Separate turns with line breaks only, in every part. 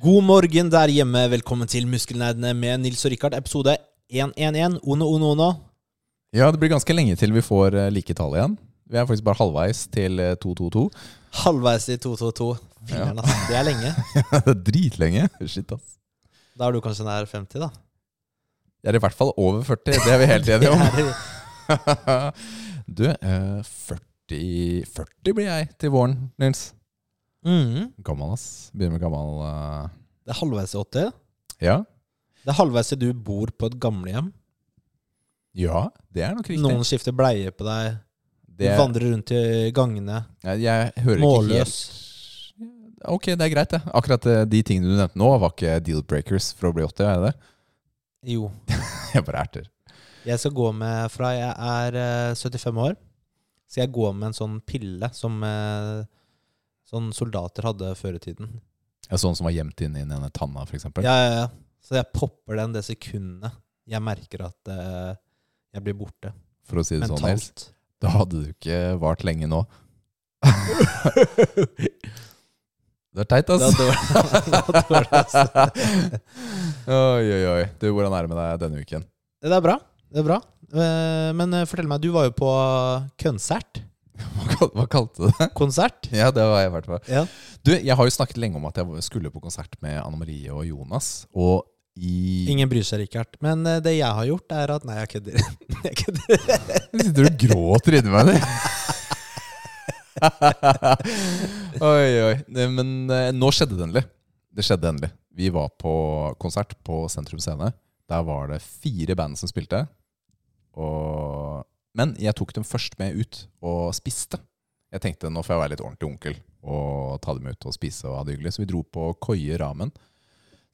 God morgen der hjemme. Velkommen til Muskelnerdene med Nils og Rikard, episode 111. Ono, ono, ono.
Ja, det blir ganske lenge til vi får eh, like tall igjen. Vi er faktisk bare halvveis til eh, 222.
Halvveis i 222. Fingeren, ass. altså. Det er lenge.
det er dritlenge. Shit, ass.
Da er du kanskje nær 50, da.
Jeg er i hvert fall over 40, det er vi helt enige om.
Det er,
Du, eh, 40, 40 blir jeg til våren, Nils.
Mhm.
Gammel, ass. Begynner med gammel eh,
det er halvveis i 80.
Ja.
Det er halvveis til du bor på et gamlehjem.
Ja, det er nok riktig.
Noen skifter bleie på deg. Du
det,
vandrer rundt i gangene.
jeg, jeg hører
Målløs.
ikke helt Ok, det er greit, det. Akkurat eh, de tingene du nevnte nå, var ikke deal breakers for å bli 80, er det det?
Jo.
Jeg bare erter.
Jeg skal gå med fra jeg er eh, 75 år. Skal jeg gå med en sånn pille som eh, sånn soldater hadde før i tiden.
Ja, sånn som var gjemt inn i den ene tanna, for eksempel.
Ja, ja, ja. Så jeg popper den det sekundet jeg merker at eh, jeg blir borte
For å si det sånn, Nils.
mentalt.
Da hadde du ikke vart lenge nå. det er teit,
Da
ass.
dør da dør det. altså.
Oi, oi, oi. Du, hvordan er det med deg denne uken?
Det er bra. Det er bra. Eh, Men eh, fortell meg, du var jo på konsert.
Hva, kal- hva kalte du det?
Konsert?
Ja, det var jeg i hvert fall.
Ja.
Du, jeg har jo snakket lenge om at jeg skulle på konsert med Anne Marie og Jonas. Og i
Ingen bryr seg, Rikard. Men eh, det jeg har gjort, er at Nei, jeg kødder. Jeg kødder.
Sitter du og gråter inni meg, eller? oi, oi. Nei, Men eh, nå skjedde det endelig. Det skjedde endelig. Vi var på konsert på Sentrum Scene. Der var det fire band som spilte. Og... Men jeg tok dem først med ut og spiste. Jeg tenkte nå får jeg være litt ordentlig onkel og ta dem ut og spise og ha det hyggelig. Så vi dro på Koie Ramen,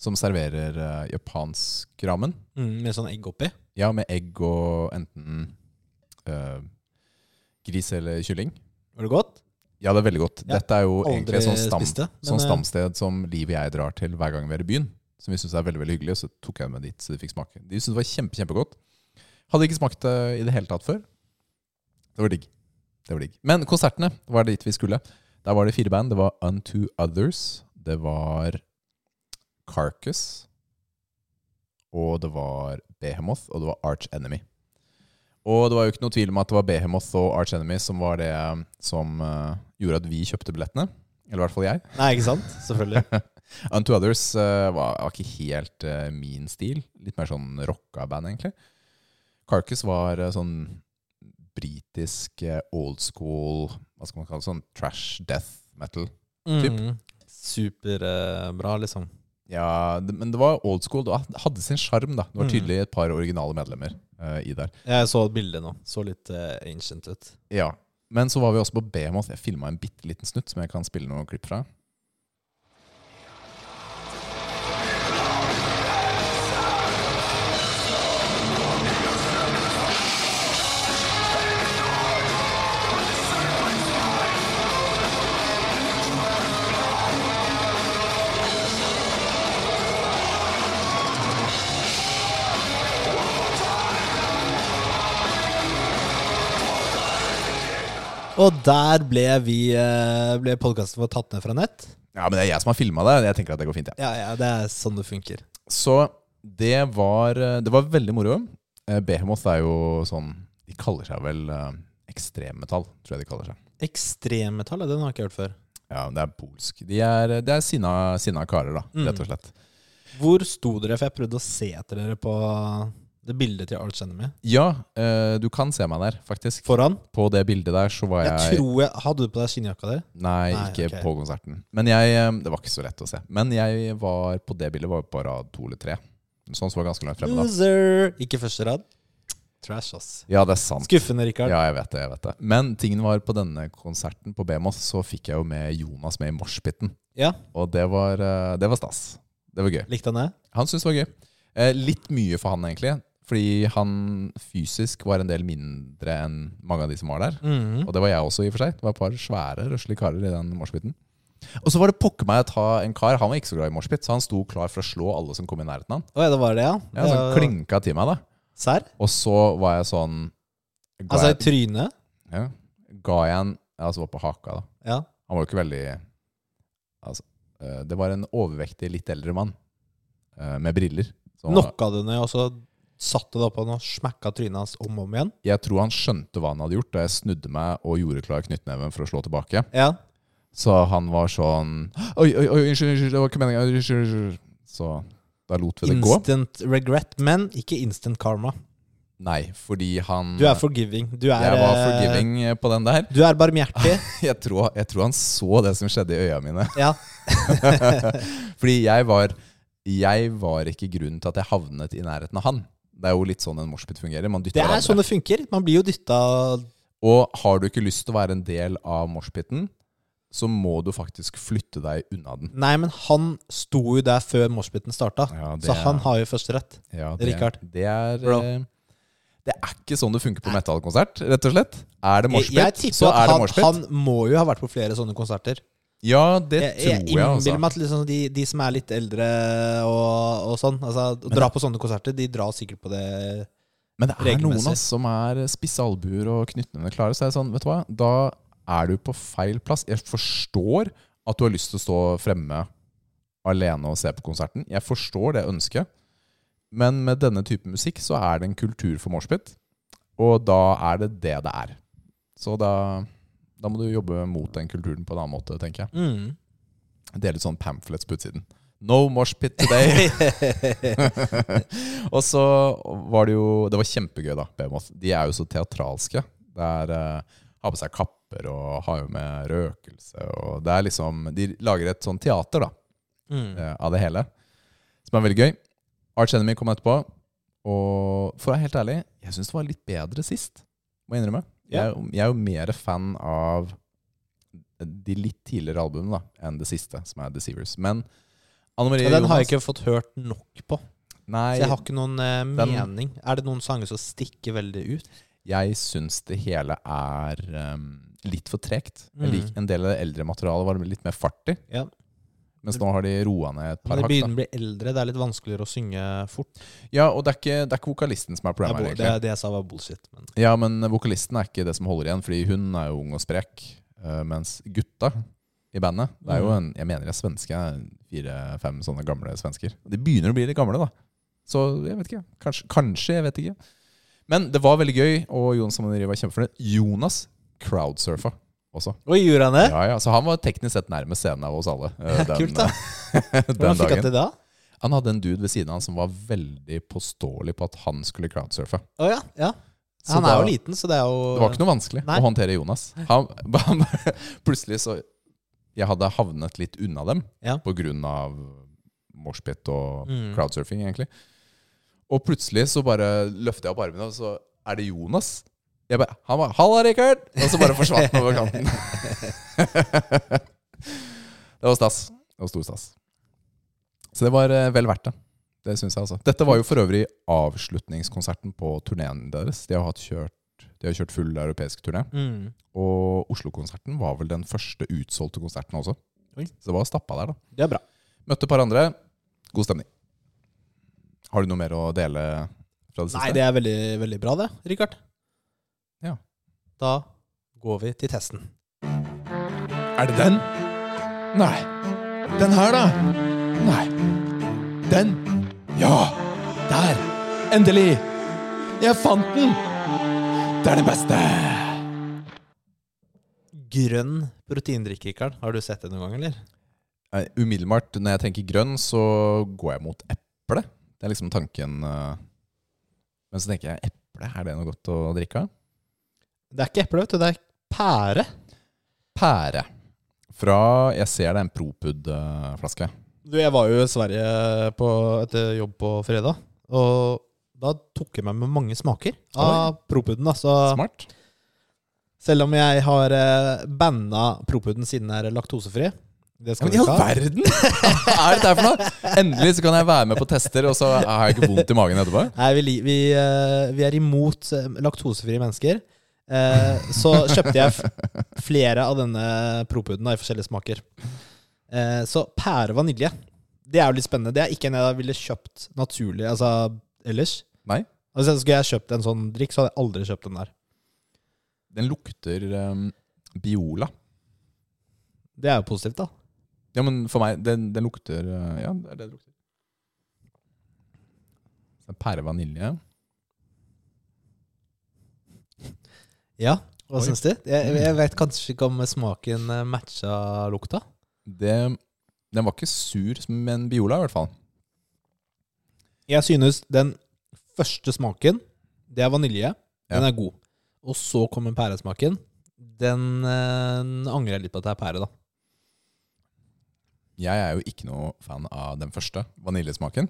som serverer eh, japansk ramen.
Mm, med sånn egg oppi.
Ja, med egg og enten eh, gris eller kylling.
Var det godt?
Ja, det er veldig godt.
Ja,
Dette er jo
Aldri
egentlig et sånt, stam,
spist det. men,
sånn
eh,
stamsted som Liv og jeg drar til hver gang vi er i byen. Som vi syns er veldig veldig hyggelig. Så tok jeg dem med dit, så de fikk smake. De syntes det var kjempe, kjempegodt. Hadde ikke smakt det i det hele tatt før. Det var digg. Det var digg. Men konsertene var dit vi skulle. Der var det fire band. Det var Unto Others. Det var Carcass. Og det var Behemoth. Og det var Arch Enemy. Og det var jo ikke noe tvil om at det var Behemoth og Arch Enemy som var det som eh, gjorde at vi kjøpte billettene. Eller i hvert fall jeg.
Nei, ikke sant? Selvfølgelig.
Unto Others eh, var, var ikke helt eh, min stil. Litt mer sånn rocka band, egentlig. Carcass var eh, sånn britisk eh, old school Hva skal man kalle det? Sånn trash death metal.
Mm. Superbra, liksom.
Ja, det, Men det var old school. Det var- det hadde sin sjarm, da. Det var
Mm.
tydelig et par originale medlemmer eh, i der.
Jeg så bildet nå. Så litt eh, ancient ut.
Ja. Men så var vi også på Behemoth. Jeg filma en bitte liten snutt som jeg kan spille noen klipp fra.
Og der ble, vi, eh, ble podkasten vår tatt ned fra nett.
Ja, men det er jeg som har filma det. Jeg tenker at det går fint, jeg.
Ja, ja, det er sånn det funker.
Så det var, det var veldig moro. Eh, Behemoth er jo sånn De kaller seg vel eh, ekstremmetall, tror jeg de kaller seg.
Ekstremmetall, ja, den har jeg ikke hørt før.
Ja, Det er polsk. De er, eh, det er sinna, sinna karer, da,
Mm.
rett og slett.
Hvor sto dere? For jeg prøvde å se etter dere på det bildet til Arch Enemy.
Ja, eh, du kan se meg der, faktisk.
Foran.
På det bildet der så var jeg,
Jeg tror jeg Hadde du på deg skinnjakka di?
Nei,
Nei,
ikke
ok.
på konserten. Men jeg eh, Det var ikke så lett å se. Men jeg var
Mm.
på det bildet var jeg på rad to eller tre. Sånn som var ganske langt fremme, da.
Loser! Ikke første rad. Trash, ass.
Ja, det er sant.
Skuffende, Rikard.
Ja, jeg vet det. jeg vet det Men tingen var på denne konserten på Bemos så fikk jeg jo med Jonas med i moshpiten.
Ja.
Og det var, eh, det var stas. Det var gøy.
Likte han det?
Han syntes det var gøy. Eh, litt mye for han, egentlig. Fordi han fysisk var en del mindre enn mange av de som var der.
Mhm.
Og det var jeg også, i og for seg. Det var et par svære, røslige karer i den moshpiten. Og så var det pokker meg å ta en kar. Han var ikke så glad i moshpit, så han sto klar for å slå alle som kom i nærheten av han.
Å ja, det var det, ja?
Ja, sånn så han
Det-
klinka til meg, da.
Serr?
Og så var jeg sånn ga
Altså i
jeg,
trynet?
ja, ga jeg en Ja, altså var på haka, da.
Ja.
Han var jo ikke veldig altså, eh, Det var en overvektig, litt eldre mann eh, med briller. Så han var-
Knocka du ned, og så satte du deg opp og smakka trynet hans om og om igjen?
Jeg tror han skjønte hva han hadde gjort, da jeg snudde meg og gjorde klar knyttneven for å slå tilbake.
Ja.
Så han var sånn Oi, oi, oi, unnskyld, unnskyld, det var ikke meninga. Unnskyld, unnskyld. Så da lot vi det gå.
Instant regret, men ikke instant karma.
Nei, fordi han
Du er forgiving. Du er,
Jeg var
eh,
forgiving på den der.
Du er barmhjertig.
Jeg tror, jeg tror han så det som skjedde i øya mine.
ja.
Fordi jeg var Jeg var ikke grunnen til at jeg havnet i nærheten av han. Det er jo litt sånn en moshpit fungerer. Man dytter
Det er
hverandre.
sånn det funker. Man blir jo dytta
Og har du ikke lyst til å være en del av moshpiten, så må du faktisk flytte deg unna den.
Nei, men han sto jo der før moshpiten starta,
Ja, det
så
er-
han har jo førsterett.
Ja, det,
Richard.
Det er,
Bro.
eh, det er ikke sånn det funker på metallkonsert, rett og slett. Er det
Jeg, jeg
moshpit,
tipper
så
at
er det
han,
moshpit.
han må jo ha vært på flere sånne konserter.
Ja, det
Jeg, jeg
tror jeg,
innbiller
altså.
meg at liksom de, de som er litt eldre og, og sånn, altså, drar på sånne konserter, de drar sikkert på det
Men det er noen
regelmessig.
ass, som er spisse albuer og knyttnevene klare. Så er det sånn, vet du hva, da er du på feil plass. Jeg forstår at du har lyst til å stå fremme alene og se på konserten. Jeg forstår det ønsket. Men med denne type musikk så er det en kultur for moshpit. Og da er det det det er. Så da, da må du jobbe mot den kulturen på en annen måte, tenker jeg.
mm.
Dele ut sånn pamphlets på utsiden. No moshpit today! og så var det jo Det var kjempegøy, da. Behemoth. De er jo så teatralske. Det er eh, Har på seg kapper og har jo med røkelse og Det er liksom De lager et sånn teater, da,
Mm.
eh, av det hele. Som er veldig gøy. Arch Enemy kom etterpå. Og for å være helt ærlig, jeg syns det var litt bedre sist. Må jeg innrømme.
Ja.
Jeg, jeg er jo mer fan av de litt tidligere albumene da, enn det siste, som er Deceivers. Men Anne Marie
Og den har
Jonas-
jeg ikke fått hørt nok på.
Nei,
Så jeg har ikke noen eh,
Den-
mening. Er det noen sanger som stikker veldig ut?
Jeg syns det hele er ehm, litt for tregt. Jeg
Mm.
liker En del av det eldre materialet var litt mer fart i.
Ja.
Mens nå har de roa ned et
Når
par
de
hakk. da.
begynner å bli eldre, det er litt vanskeligere å synge fort.
Ja, og det er, ikke, det er ikke vokalisten som
Det,
er
er
problemet. her,
bo- det,
egentlig.
det jeg sa, var bullshit. Men.
Ja, men vokalisten er ikke det som holder igjen, fordi hun er jo ung og sprek. eh, mens gutta i bandet Det er jo
Mm.
en, Jeg mener de er svenske. Fire-fem sånne gamle svensker. Og De begynner å bli litt gamle, da. Så jeg vet ikke. Kanskje, kanskje jeg vet ikke. Men det var veldig gøy, og Jonas Samaneri var kjempefornøyd. Jonas crowdsurfa også.
Oi, gjorde han det?
Ja, ja, Så han var teknisk sett nærmest scenen av oss alle. eh, Den,
Kult, da.
den
Hvordan fikk han til
dagen.
det? da?
Han hadde en dude ved siden av han som var veldig påståelig på at han skulle crowdsurfe.
Å ja, ja.
Så
Han er
da-
jo liten, så det er jo
Det var ikke noe vanskelig
Nei.
å håndtere Jonas. Han, han, plutselig så Jeg hadde havnet litt unna dem
Ja.
på grunn av moshpit og
Mm.
crowdsurfing, egentlig. Og plutselig så bare løfter jeg opp armene, og så er det Jonas. Jeg bare, han bare 'Halla, Rikard!' Og så bare forsvant han over kanten. det var stas. Det var stor stas. Så det var eh, vel verdt det. Det synes jeg altså. Dette var jo for øvrig avslutningskonserten på turneen deres. De har, hatt kjørt, de har kjørt full europeisk turné.
Mm.
Og Oslo-konserten var vel den første utsolgte konserten også.
Oi.
Så det var stappa der, da.
Det er bra.
Møtte et par andre. God stemning. Har du noe mer å dele fra det siste?
Nei, det er veldig, veldig bra, det, Richard.
Ja.
Da går vi til testen.
Er det den? Nei. Den her, da? Nei. Den? Ja! Der! Endelig! Jeg fant den! Det er den beste!
Grønn proteindrikke, Richard. Har du sett det noen gang, eller?
Umiddelbart, når jeg tenker grønn, så går jeg mot eple. Det er liksom tanken. eh. Men så tenker jeg, eple, er det noe godt å drikke av?
Det er ikke eple, vet du. Det er pære.
Pære. Fra Jeg ser det er en Propud-flaske.
Du, jeg var jo i Sverige på et jobb på fredag, og Da tok jeg meg med mange smaker
Oi.
av propuden. Altså,
Smart.
selv om jeg har eh, banna propuden siden den er laktosefri. Det
Ja,
skal
men i
vi
all
ikke ha.
verden! Hva er dette her for noe? Endelig så kan jeg være med på tester, og så har jeg ikke vondt i magen etterpå.
Nei, vi, li- vi, eh, vi er imot eh, laktosefrie mennesker. Eh, så kjøpte jeg f- flere av denne propuden da, i forskjellige smaker. Eh, så pære vanilje. Det er jo litt spennende. Det er ikke en jeg ville kjøpt naturlig altså, ellers.
Nei.
Altså, skulle jeg kjøpt en sånn drikk, så hadde jeg aldri kjøpt den der.
Den lukter um, Biola.
Det er jo positivt, da.
Ja, men for meg, den, den lukter eh, Ja, det er det det lukter. Så det er Pære vanilje.
Ja, hva
Oi.
syns du? Jeg, jeg vet kanskje ikke om smaken eh, matcha lukta.
Det, den var ikke sur som en Biola, i hvert fall.
Jeg synes den første smaken, det er vanilje. Den
Ja.
er god. Og så kommer pæresmaken. Den eh, angrer jeg litt på at det er pære, da.
Jeg er jo ikke noe fan av den første, vaniljesmaken.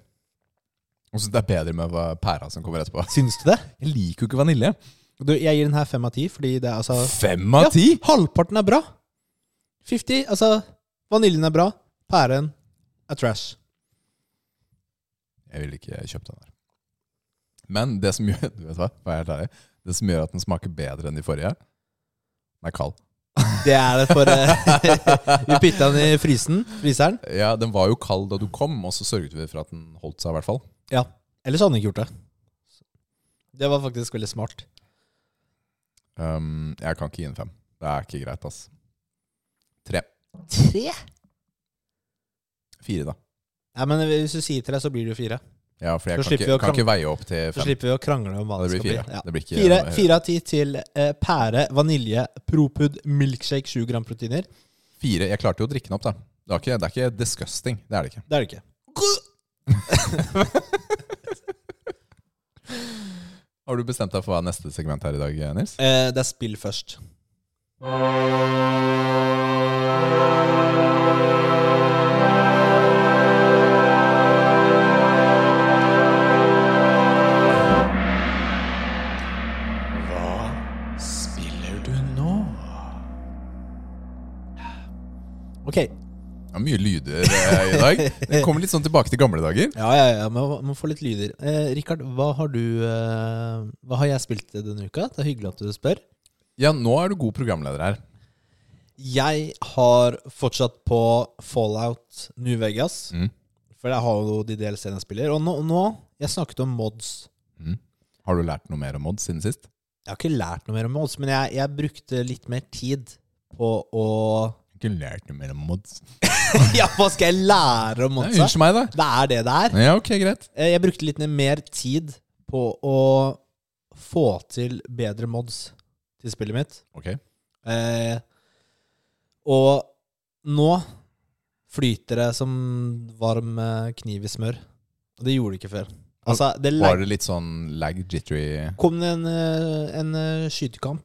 Og syns det er bedre med hva- pæra som kommer etterpå.
Syns du det?
Jeg liker jo ikke vanilje.
Du, jeg gir den her fem av ti, fordi det er altså
Fem
Ja.
av ti!
Halvparten er bra. 50, altså Vaniljen er bra. Pæren er trash.
Jeg ville ikke kjøpt den der. Men det som gjør du vet hva, hva er helt ærlig, det som gjør at den smaker bedre enn de forrige, den er kald.
Det er det for eh, Vi bytta den i frysen, fryseren.
Ja, Den var jo kald da du kom, og så sørget vi for at den holdt seg. i hvert fall.
Ellers hadde den ikke gjort det. Det var faktisk veldig smart.
Um, jeg kan ikke gi den fem. Det er ikke greit, ass. Tre.
Tre?
Fire, da.
Nei, men Hvis du sier tre, så blir det jo fire.
Ja, for jeg
Så
kan
slipper vi
ikke,
å
kan ikke veie opp til
Så
fem.
slipper vi å krangle om hva
Det
det skal
blir
bli.
fire.
Ja.
Det blir ikke
Fire,
noe høyere.
fire av ti til eh, pære, vanilje, propud, milkshake, 7 gram proteiner.
Fire. Jeg klarte jo å drikke den opp, da. Det, var ikke, det er ikke disgusting. Det er det ikke.
Det er det ikke.
Har du bestemt deg for hva er neste segment her i dag, Nils?
Eh, det er spill først.
Hva spiller du nå?
Ok.
Det er mye lyder eh, i dag. Det kommer litt sånn tilbake til gamle dager.
Ja, ja, ja. Man må få litt lyder. Eh, Rikard, hva har du eh, Hva har jeg spilt denne uka? Det er hyggelig at du spør.
Ja, nå er du god programleder her.
Jeg har fortsatt på Fallout New Vegas.
Mm.
For jeg har jo de DLC-ene jeg spiller. Og nå, nå Jeg snakket om mods.
Har du lært noe mer om Odd siden sist?
Jeg har ikke lært noe mer om mods, men jeg, jeg brukte litt mer tid på å
Ikke lært noe mer om mods.
Ja, hva skal jeg lære om
Nei,
modsa?
unnskyld meg, da.
Det er det det er.
Ja, ok, greit.
Eh, Jeg brukte litt mer tid på å få til bedre mods til spillet mitt.
Ok.
Eh, og nå flyter det som varm eh, kniv i smør. Og det gjorde det ikke før. Altså, det
Var
lag
det litt sånn lag jittery
kom det en, eh, en eh, skytekamp,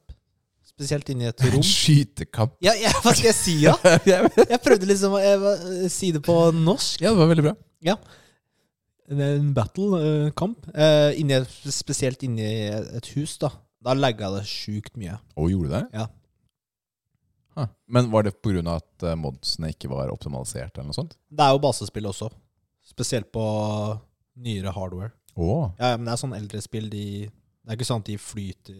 spesielt inne i et rom.
Skytekamp.
Ja, ja, hva skal jeg si, da?
ja,
Jeg prøvde liksom å eh, si det på norsk.
det var veldig bra.
Det er En battle, eh, kamp. Eh, inni et, spesielt inni et hus, da. Da lagga det sjukt mye.
Og gjorde du det?
Ja.
Huh. Men var det pga. at eh, modsene ikke var optimalisert, eller noe sånt?
Det er jo basespill også. Spesielt på nyere hardware.
Åh.
Ja, ja, men det er sånn eldre spill, de Det er ikke sånn at de flyter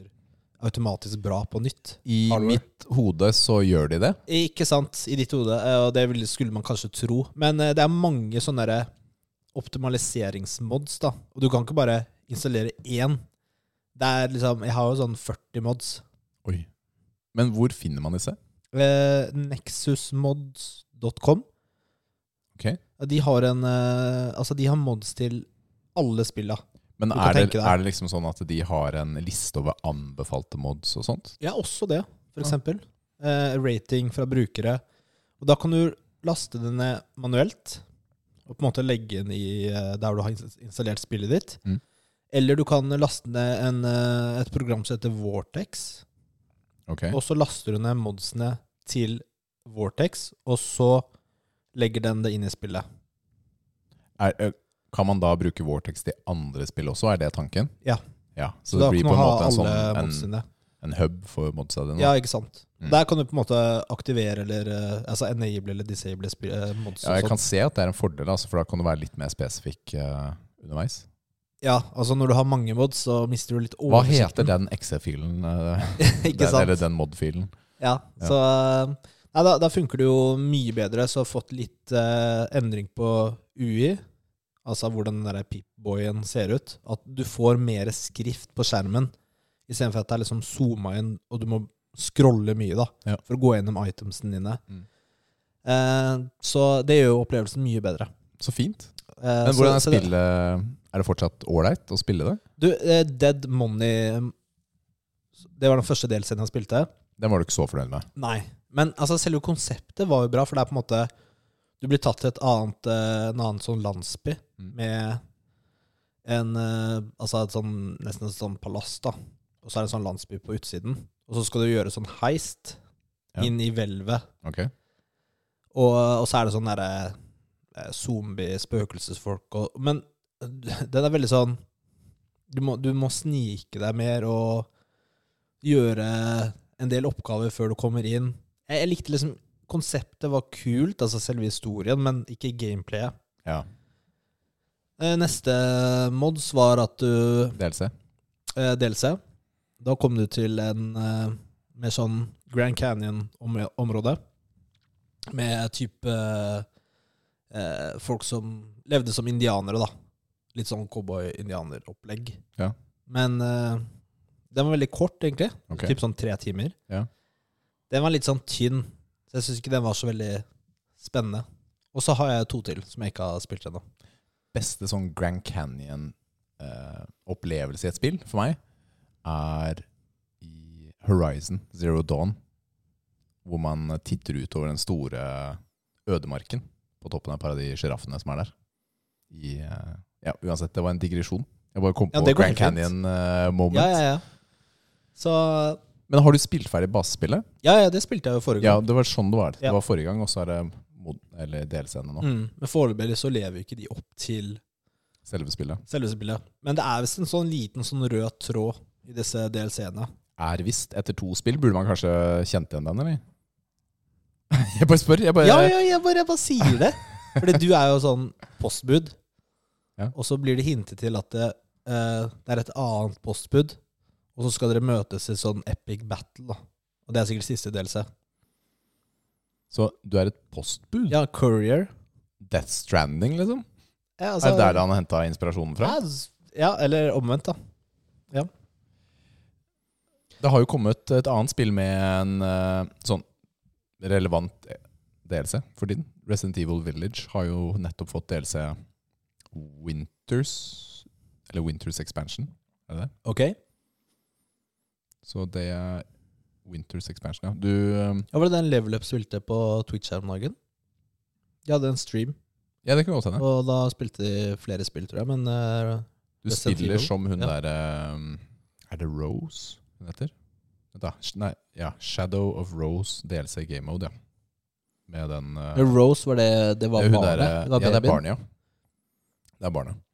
automatisk bra på nytt.
I
Hardware.
mitt hode så gjør de det.
Ikke sant, i ditt hode, eh, og det ville- skulle man kanskje tro. Men eh, det er mange sånne der optimaliseringsmods, da. Og du kan ikke bare installere én. Det er liksom Jeg har jo sånn 40 mods.
Oi. Men hvor finner man disse?
Eh, Nexusmods.com.
Ok.
De har en eh, Altså, de har mods til alle spilla.
Men
Du kan
er det,
tenke deg.
er det liksom sånn at de har en liste over anbefalte mods og sånt?
Ja, også det, for
Ja.
eksempel. Eh, rating fra brukere. Og da kan du laste det ned manuelt, og på en måte legge den i eh, der du har ins- installert spillet ditt.
Mm.
Eller du kan laste ned en, eh, et program som heter Vortex.
Ok.
Og så laster du ned modsene til Vortex, og så legger den det inn i spillet.
Er, ø, Kan man da bruke Vortex til andre spill også, er det tanken?
Ja.
så, det blir på en måte en
alle
sånn en,
monstrene.
en hub for modstadiene?
Ja, ikke sant.
Mm.
Der kan du på en måte aktivere eller eh, altså enable eller disable spi- eh, monster.
Ja, jeg
og
kan
sånt.
se at det er en fordel, altså, for da kan du være litt mer spesifikk eh, underveis.
ja, altså når du har mange mods, så mister du litt
Hva
oversikten.
heter den XF-filen? eh,
ikke
den,
sant?
eller den mod-filen?
Ja,
Ja.
så eh, Nei, da, da funker det jo mye bedre, så jeg har fått litt eh, endring på UI. Altså hvordan den der Pip-boyen ser ut. At du får mer skrift på skjermen, istedenfor at det er liksom zooma inn, og du må scrolle mye da,
Ja.
for å gå gjennom itemsene dine.
Mm.
Eh, så det gjør jo opplevelsen mye bedre.
Så fint.
Eh,
Men
så-
hvordan er
så det-
spillet Er det fortsatt ålreit å spille det?
Du, eh, Dead Money Det var den første delscenen jeg spilte.
Den var du ikke så fornøyd med?
Nei. Men altså, selve konseptet var jo bra, for det er på en måte Du blir tatt til et annet, eh, en annen sånn landsby
Mm.
med en eh, Altså et sånn, nesten et sånn palass, da. Og så er det en sånn landsby på utsiden. Og så skal du gjøre sånn heist
Ja.
inn i hvelvet.
Ok.
Og, og så er det sånn derre eh, zombie-spøkelsesfolk og Men den er veldig sånn du må, du må snike deg mer og gjøre en del oppgaver før du kommer inn. Jeg, jeg likte liksom Konseptet var kult, altså selve historien, men ikke gameplayet.
Ja.
Eh, Neste mods var at du
DLC.
eh, DLC. Da kom du til en eh, mer sånn Grand Canyon-område. Med type eh, folk som levde som indianere, da. Litt sånn cowboy-indianeropplegg.
Ja.
Men eh, den var veldig kort, egentlig.
Ok.
Typ sånn tre timer.
Ja.
Den var litt sånn tynn, så jeg syns ikke den var så veldig spennende. Og så har jeg to til som jeg ikke har spilt ennå.
Beste sånn Grand Canyon-opplevelse i et spill for meg er i Horizon Zero Dawn. Hvor man titter ut over den store ødemarken på toppen av et par av de sjiraffene som er der. I, eh, ja, uansett, det var en digresjon. Jeg bare kom
Ja,
på
det går
Grand eh,
helt fint.
Canyon-moment.
Ja, ja, ja. Så
Men har du spilt ferdig basespillet?
Ja, ja, det spilte jeg jo forrige
Ja,
gang.
det var sånn det var.
Ja.
Det var forrige gang, og så er det mod eller delscene nå.
Mm, men foreløpig så lever jo ikke de opp til
Selve spillet.
selve spillet. Men det er visst en sånn liten sånn rød tråd i disse DLC-ene.
Er visst etter to spill. Burde man kanskje kjent igjen den, eller? Jeg bare spør. Jeg bare,
Ja, ja, jeg bare, jeg bare sier det! Fordi du er jo sånn postbud,
Ja.
og så blir det hintet til at det, eh, det er et annet postbud, og så skal dere møtes i sånn epic battle, da. Og det er sikkert siste DLC.
Så du er et postbud?
Ja, Courier.
Death Stranding, liksom?
Ja, altså-
er det der han henta inspirasjonen fra?
Ja, s- Ja, eller omvendt, da.
Det har jo kommet et annet spill med en eh, sånn relevant eh, DLC for tiden. Resident Evil Village har jo nettopp fått DLC Winters Eller Winters Expansion, er det det?
Ok.
Så det er Winters Expansion, ja. Du, eh,
Ja, var det den Level Up spilte på Twitch her om dagen? De hadde en stream,
ja, det kan godt hende.
og da spilte de flere spill, tror jeg. Men eh,
Du
Resident
spiller
Evil,
som hun
ja.
der eh, Er det Rose hun heter? Vent Da, Sh- nei, ja. Shadow of Rose DLC Game Mode, ja. Med den eh,
Rose var det Det var
det er hun
barnet?
der,
det
eh,
var
Ja, det er
babyen.
barnet, ja. Det er barnet.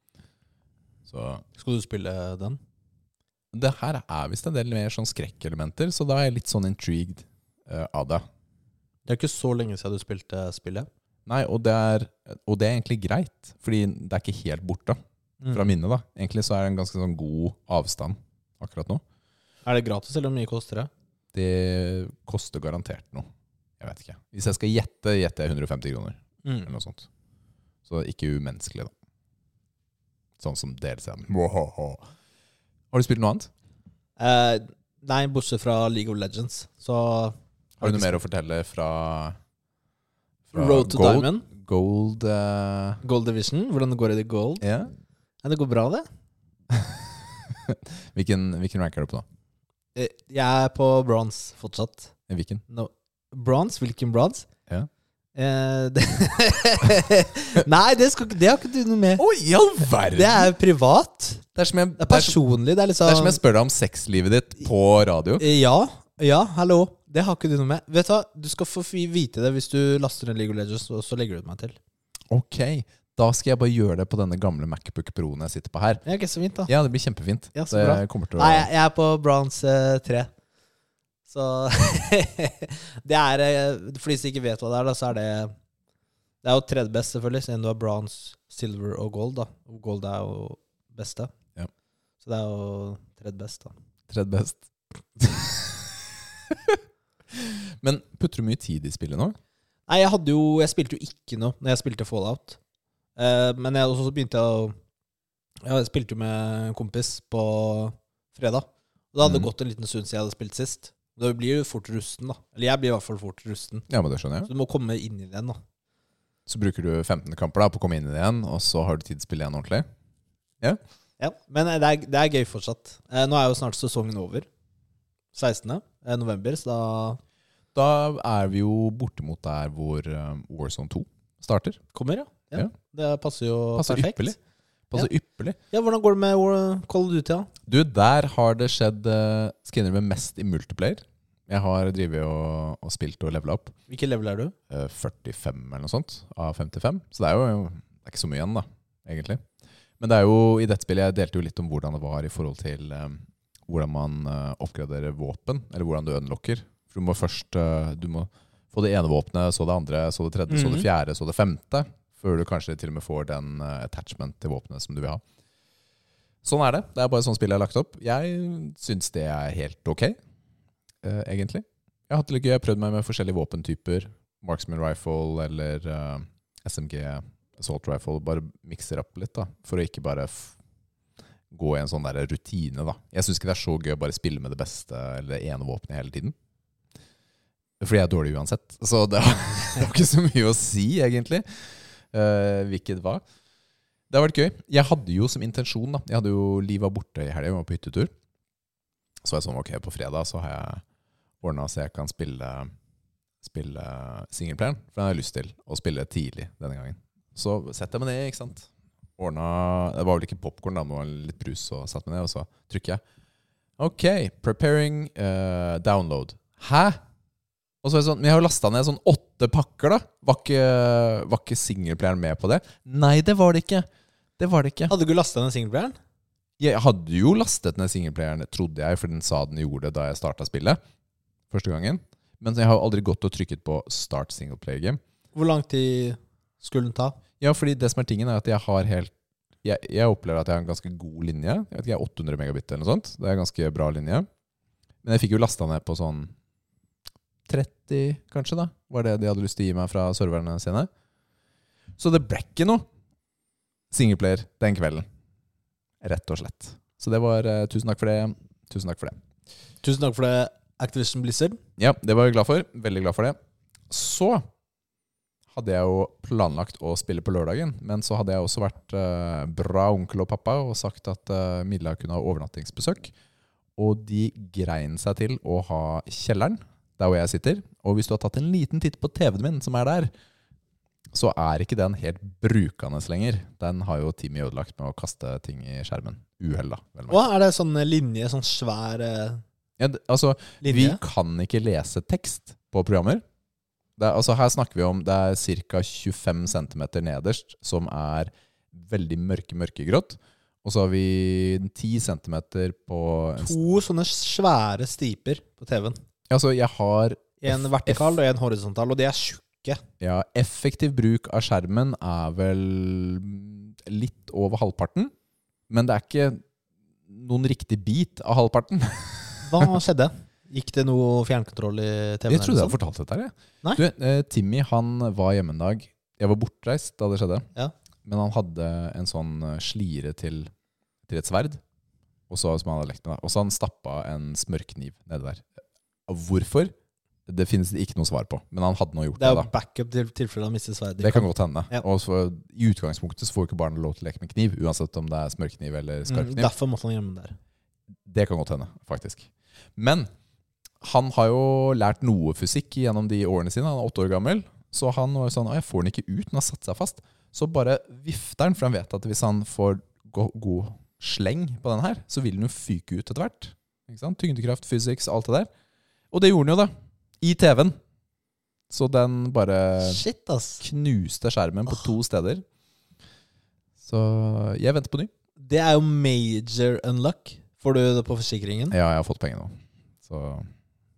Så
Skal du spille den?
det her er visst en del mer sånn skrekkelementer, så da er jeg litt sånn intrigued eh, av det.
Det er ikke så lenge siden du spilte spillet.
Nei, og det, er, og det er egentlig greit, fordi det er ikke helt borte
Mm.
fra minnet. da. Egentlig så er det en ganske sånn god avstand akkurat nå.
Er det gratis, eller hvor mye koster det?
Det koster garantert noe. Jeg vet ikke. Hvis jeg skal gjette, gjetter jeg 150 kroner.
Mm.
eller noe sånt. Så ikke umenneskelig, da. Sånn som DLC-en. Mwahaha. Har du spilt noe annet?
Eh, nei, bortsett fra League of Legends, så
Har du noe mer å fortelle fra, fra
Road to
Gold?
Diamond,
Gold eh,
Gold Division, hvordan det går i det gold?
ja.
Ja, det går bra, det.
hvilken, hvilken rank er du på, da?
Eh, Jeg er på bronze fortsatt.
Eh, Hvilken?
No. Bronze? Hvilken bronze?
Ja.
Eh, det Nei, det, skal, ikke- det har ikke du noe med.
Å, i all verden!
Det er privat.
Det er som jeg,
Det er
det er som-
personlig. Det er liksom
det er som jeg spør deg om sexlivet ditt på radio.
Eh, Ja. Ja, hallo. Det har ikke du noe med. Vet Du hva, du skal få fi- vite det hvis du laster ned League of Legends, og så legger du det meg til.
Ok, Da skal jeg bare gjøre det på denne gamle Macbook Pro-en jeg sitter på her.
Ja, ok, så fint, da.
Ja, det blir kjempefint.
Ja, så
det
bra.
kommer til å
Nei, jeg- jeg er på Browns eh, 3. Så Det er eh, For de som ikke vet hva det er, da, så er det Det er jo tredje best, selvfølgelig, siden du har bronze, silver og gold. da Og Gold er jo beste.
Ja.
Så det er jo tredje best, da.
Tredje best. Men putter du mye tid i spillet nå?
Nei, jeg hadde jo Jeg spilte jo ikke noe når jeg spilte Fallout. Eh, men jeg, også så begynte jeg å ja, Jeg spilte jo med en kompis på fredag. Og da hadde det
Mhm.
gått en liten stund siden jeg hadde spilt sist. Da blir du fort rusten, da. Eller jeg blir i hvert fall fort rusten.
Ja, men det skjønner jeg.
Så du må komme inn i den, da.
Så bruker du 15 kamper da på å komme inn i det igjen, og så har du tid til å spille igjen ordentlig?
Ja, Men eh, det er, det er gøy fortsatt. Eh, nå er jo snart sesongen over. 16. eh, november, så da
Da er vi jo bortimot der hvor um, Warzone 2 starter.
kommer, ja. ja.
Ja.
Det passer jo
Passer
perfekt.
ypperlig. Passer ypperlig.
Ja, Hvordan går det med War- Call of Duty? da?
Du, der har det skjedd uh, skinner med mest i multiplayer. Jeg har drevet og, og spilt og levela opp
Hvilket level er du?
eh, 45 eller noe sånt av 55. Så det er jo det er ikke så mye igjen, da, egentlig. Men det er jo i dette spillet Jeg delte jo litt om hvordan det var i forhold til eh, hvordan man eh, oppgraderer våpen, eller hvordan du unlocker. For du må først eh, du må få det ene våpenet, så det andre, så det tredje, så
Mhm.
det fjerde, så det femte. Før du kanskje til og med får den eh, attachment til våpenet som du vil ha. Sånn er det. Det er bare sånn spillet er lagt opp. Jeg syns det er helt ok, eh, egentlig. Jeg har hatt det litt gøy. Jeg har prøvd meg med forskjellige våpentyper. Marksman rifle eller eh, SMG assault rifle. Bare mikser opp litt, da. For å ikke bare f gå i en sånn der rutine, da. Jeg syns ikke det er så gøy å bare spille med det beste eller det ene våpenet hele tiden. Fordi jeg er dårlig uansett. Så det har, det har ikke så mye å si, egentlig. eh, hvilket hva. Det har vært gøy. Jeg hadde jo som intensjon, da Jeg hadde jo livet borte i helga, vi var på hyttetur. Så var jeg sånn, ok, på fredag så har jeg ordna så jeg kan spille Spille singleplayeren. For den har jeg lyst til å spille tidlig denne gangen. Så setter jeg meg ned, ikke sant. Ordna Det var vel ikke popkorn, da, men det var litt brus, og satt meg ned, og så trykker jeg. Ok, preparing eh, download. Hæ? Og så er det sånn, Men jeg har jo lasta ned sånn åtte pakker, da. Var ikke, var ikke singleplayeren med på det? Nei, det var det ikke. Det var det ikke.
Hadde du ikke lasta ned singelplayeren?
Jeg hadde jo lastet ned singleplayeren, trodde jeg, for den sa den gjorde det da jeg starta spillet. Første gangen. Men jeg har jo aldri gått og trykket på start singleplayer game.
Hvor lang tid skulle den ta?
Ja, fordi det som er tingen, er at jeg har helt jeg, jeg opplever at jeg har en ganske god linje. Jeg vet ikke, jeg er 800 megabit eller noe sånt. Det er en ganske bra linje. Men jeg fikk jo lasta ned på sånn 30, kanskje, da. Var det de hadde lyst til å gi meg fra serverne sine. Så det ble ikke noe singleplayer den kvelden. Rett og slett. Så det var eh, Tusen takk for det. Tusen takk for det.
Tusen takk for det, Activision Blizzard.
Ja, det var jeg glad for. Veldig glad for det. Så hadde jeg jo planlagt å spille på lørdagen, men så hadde jeg også vært eh, bra onkel og pappa og sagt at eh, Milla kunne ha overnattingsbesøk. Og de grein seg til å ha kjelleren, der hvor jeg sitter. Og hvis du har tatt en liten titt på TV-en min, som er der, så er ikke den helt brukende lenger. Den har jo Timmy ødelagt med å kaste ting i skjermen. Uhell, da. vel å merke.
Hva er det sånn linje, sånn svær eh,
Ja, d- altså,
linje?
vi kan ikke lese tekst på programmer. Det er, altså her snakker vi om det er ca. 25 cm nederst, som er veldig mørke, mørkegrått. Og så har vi 10 cm på en, s-
to sånne svære striper på TV-en.
Altså, jeg har
En
F-
vertikal og en horisontal, og de er tjukke.
ja, Effektiv bruk av skjermen er vel litt over halvparten. Men det er ikke noen riktig bit av halvparten.
Hva skjedde? Gikk det noe fjernkontroll i TV-en?
Jeg trodde jeg hadde fortalt dette her, jeg.
liksom. Nei.
Du, eh, Timmy han var hjemme en dag. Jeg var bortreist da det skjedde.
Ja.
Men han hadde en sånn eh, slire til, til et sverd, og så, som han hadde lekt med. da. Og så han stappa en smørkniv nedi der. Hvorfor? Det finnes det ikke noe svar på. Men han hadde nå gjort
Det
det,
er jo
da.
backup til tilfelle han mister sverdet.
Det kan godt hende.
Ja.
Og så, I utgangspunktet så får jo ikke barna lov til å leke med kniv, uansett om det er smørkniv eller
Mm,
skarpkniv.
derfor måtte han gjemme den der.
Det kan godt hende, faktisk. Men han har jo lært noe fysikk gjennom de årene sine. Han er åtte år gammel. Så han var jo sånn «Å, Jeg får den ikke ut. Den har satt seg fast. Så bare vifter han, for han vet at hvis han får go god sleng på den her, så vil den jo fyke ut etter hvert. Ikke sant? Tyngdekraft, physics, alt det der. Og det gjorde den jo, da. I TV-en. Så den bare Eh.
Shit, ass.
knuste skjermen på to steder. Så jeg venter på ny.
Det er jo major unluck. Får du det på forsikringen?
Ja, jeg har fått penger nå. Så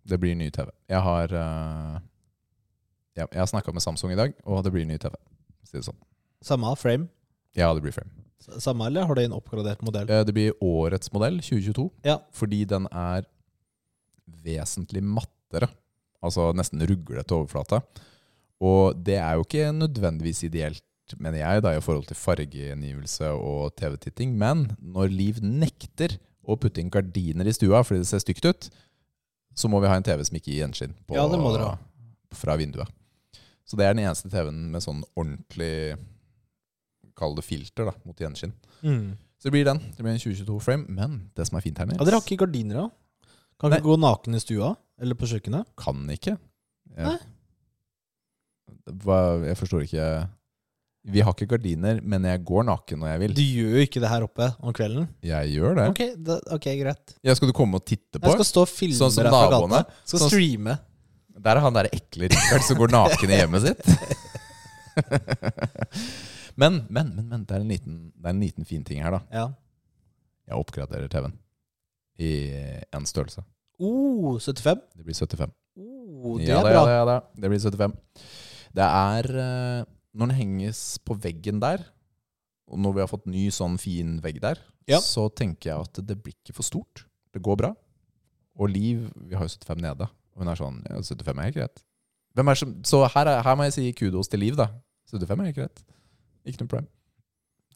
det blir ny TV. Jeg har eh, ja, Jeg har snakka med Samsung i dag, og det blir ny TV. for å Si det sånn.
Samme frame?
Ja, det blir frame.
S- Samme, eller har du en oppgradert modell?
Eh, Det blir årets modell, 2022,
Ja.
fordi den er vesentlig mattere. Altså nesten ruglete overflate. Og det er jo ikke nødvendigvis ideelt, mener jeg, da, i forhold til fargegjengivelse og TV-titting. Men når Liv nekter å putte inn gardiner i stua fordi det ser stygt ut, så må vi ha en TV som ikke gir gjenskinn på-
Ja, det må dere ha.
fra vinduet. Så det er den eneste TV-en med sånn ordentlig Kall det filter, da, mot gjenskinn.
Mm.
Så det blir den. Det blir en 2022-frame. Men det som er fint her, Nils
ja dere har ikke gardiner, da? Kan ikke gå naken i stua? Eller på kjøkkenet?
Kan ikke.
Nei.
Ja. Hva, jeg forstår ikke Vi har ikke gardiner, men jeg går naken når jeg vil.
Du gjør jo ikke det her oppe om kvelden.
Jeg gjør det.
Ok, da, ok, greit.
Ja, skal du komme og titte på?
Jeg skal stå og filme
Sånn som
deg fra gata.
naboene.
Skal
Sånn-
streame.
Der er han der ekle Richard som går naken i hjemmet sitt. men, men, men, men det, er en liten, det er en liten fin ting her, da.
Ja.
Jeg oppgraderer TV-en i én størrelse.
Oh, 75?
Det blir 75.
Oh, det
ja,
er
da,
bra.
ja, da, ja, da. Det blir 75. Det er eh, Når den henges på veggen der, og når vi har fått ny sånn fin vegg der,
Ja.
så tenker jeg at det blir ikke for stort. Det går bra. Og Liv Vi har jo 75 nede. Og hun er sånn ja, 75 er helt greit. Hvem er som, så her, er, her må jeg si kudos til Liv, da. 75 er helt greit. Ikke noe problem.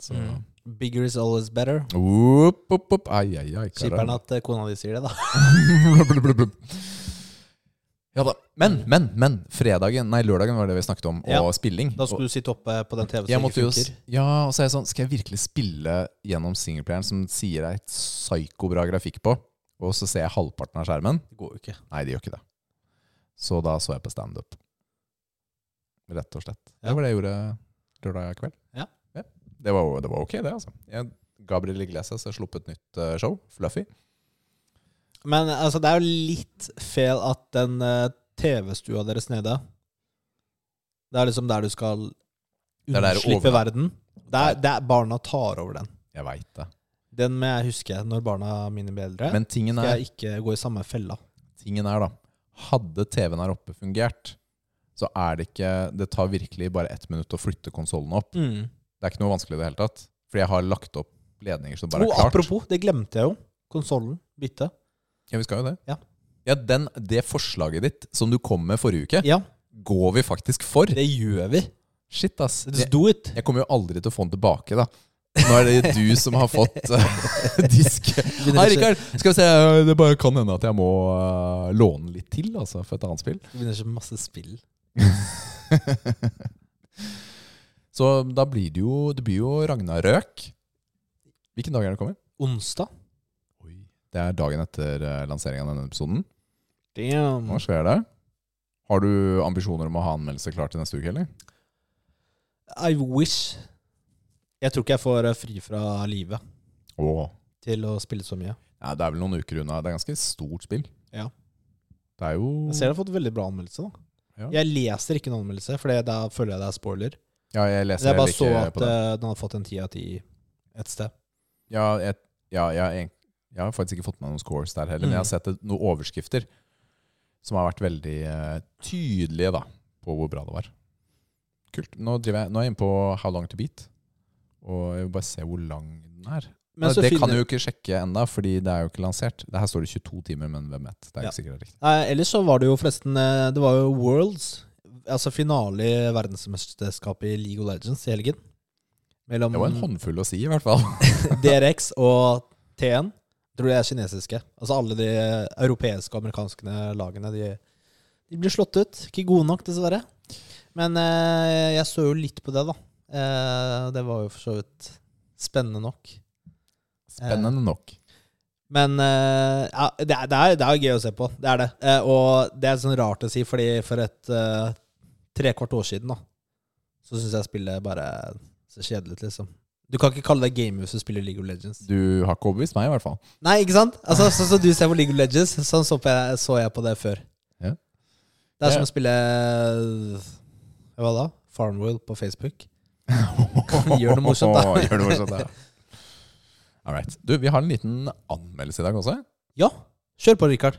Så
Mm. Bigger is always better.
opp, opp, opp. Ai, ai, ai.
Kjipere enn at eh, kona di sier det, da.
Blub, blub, blub, blub. Ja da. Men, men, men. Fredagen, nei, lørdagen var det vi snakket om, og
Ja.
spilling.
Da skulle du sitte oppe på den TV-en
og jeg
som
måtte
ikke
jo s-
funker.
Ja, og så er jeg sånn Skal jeg virkelig spille gjennom singleplayeren som sier deg et psykobra grafikk på, og så ser jeg halvparten av skjermen?
Det går jo ikke.
Nei, det gjør ikke det. Så da så jeg på standup. Rett og slett.
Ja.
Det var det jeg gjorde lørdag kveld.
Ja.
Det, var, det var ok, det, altså. Jeg, Gabriel Iglesias har sluppet nytt eh, show, Fluffy.
Men altså, det er jo litt feil at den eh, TV-stua deres nede Det er liksom der du skal
er der
unnslippe
over-
verden. Det er, det er barna tar over den.
Jeg veit det.
Den må jeg huske når barna mine blir eldre.
Men tingen
skal
er
jeg ikke gå i samme fella.
Tingen er da, hadde TV-en her oppe fungert, så er det ikke Det tar virkelig bare ett minutt å flytte konsollen opp.
Mm.
Det er ikke noe vanskelig i det hele tatt. Fordi jeg har lagt opp ledninger som bare
Og
er klart.
apropos, det glemte jeg jo. Konsollen. Bytte.
Ja, vi skal jo det.
Ja.
Ja, den, det forslaget ditt som du kom med forrige uke,
Ja,
går vi faktisk for.
det gjør vi.
Shit, ass.
Let's
Jeg,
do it.
jeg kommer jo aldri til å få den tilbake, da. Nå er det du som har fått eh, disk. Hei, Rikard. Skal vi se, eh, det bare kan hende at jeg må eh, låne litt til, altså, for et annet spill.
Det begynner så masse spill.
Så da blir det jo Det blir jo Ragnarøk. Hvilken dag er det kommer?
Onsdag.
Det er dagen etter lanseringa av denne episoden.
Damn.
Nå skjer det. Har du ambisjoner om å ha anmeldelse klar til neste uke, eller?
I wish. Jeg tror ikke jeg får eh, fri fra livet
Åh.
til å spille så mye.
Ja, det er vel noen uker unna. Det er ganske stort spill.
Ja.
Det er jo
Jeg ser det har fått veldig bra anmeldelse. da.
Ja.
Jeg leser ikke en anmeldelse, for da føler jeg det er spoiler.
Ja, jeg
Så
leser
jeg bare
heller
så
ikke
at
på det.
eh, den hadde fått en ti av ti et sted.
Ja, jeg, ja, jeg, har egent- jeg har faktisk ikke fått med meg noen scores der heller,
Mm.
men jeg har sett det- noen overskrifter som har vært veldig eh, tydelige da, på hvor bra det var. Kult. Nå, driver jeg, nå er jeg inne på How Long To Beat, og jeg vil bare se hvor lang den er.
Men
Nei,
så
det
finner-
kan jeg jo ikke sjekke enda, fordi det er jo ikke lansert. Det Her står det 22 timer, men hvem vet? Det er
Ja.
ikke sikkert det er riktig.
Nei, ellers så var det jo forresten eh, Det var jo Worlds, altså finale i verdensmesterskapet i League of Legends i helgen. Mellom
Det
Mm.
var en håndfull å si, i hvert fall.
DRX og TN. Tror de er kinesiske. Altså alle de europeiske og amerikanske lagene, de, de blir slått ut. Ikke gode nok, dessverre. Men eh, jeg så jo litt på det, da. Eh, det var jo for så vidt spennende nok.
Spennende nok.
Men eh, ja, det, er, det, er, det er jo gøy å se på. Det er det. Eh, og det er sånn rart å si, fordi for et uh, trekvart år siden da, så syns jeg spillet bare så kjedelig ut, liksom. Du kan ikke kalle deg gamer hvis du spiller League of Legends.
Du har ikke overbevist meg, i hvert fall.
Nei, ikke sant? Altså, Sånn som du ser på League of Legends, sånn så, på jeg, så jeg på det før.
Ja.
Det er
Ja.
eh, som å spille Hva da? Farmworld på Facebook. Gjør noe morsomt, da.
Gjør noe morsomt, da. All right. Du, vi har en liten anmeldelse i dag også.
Ja, kjør på, Rikard.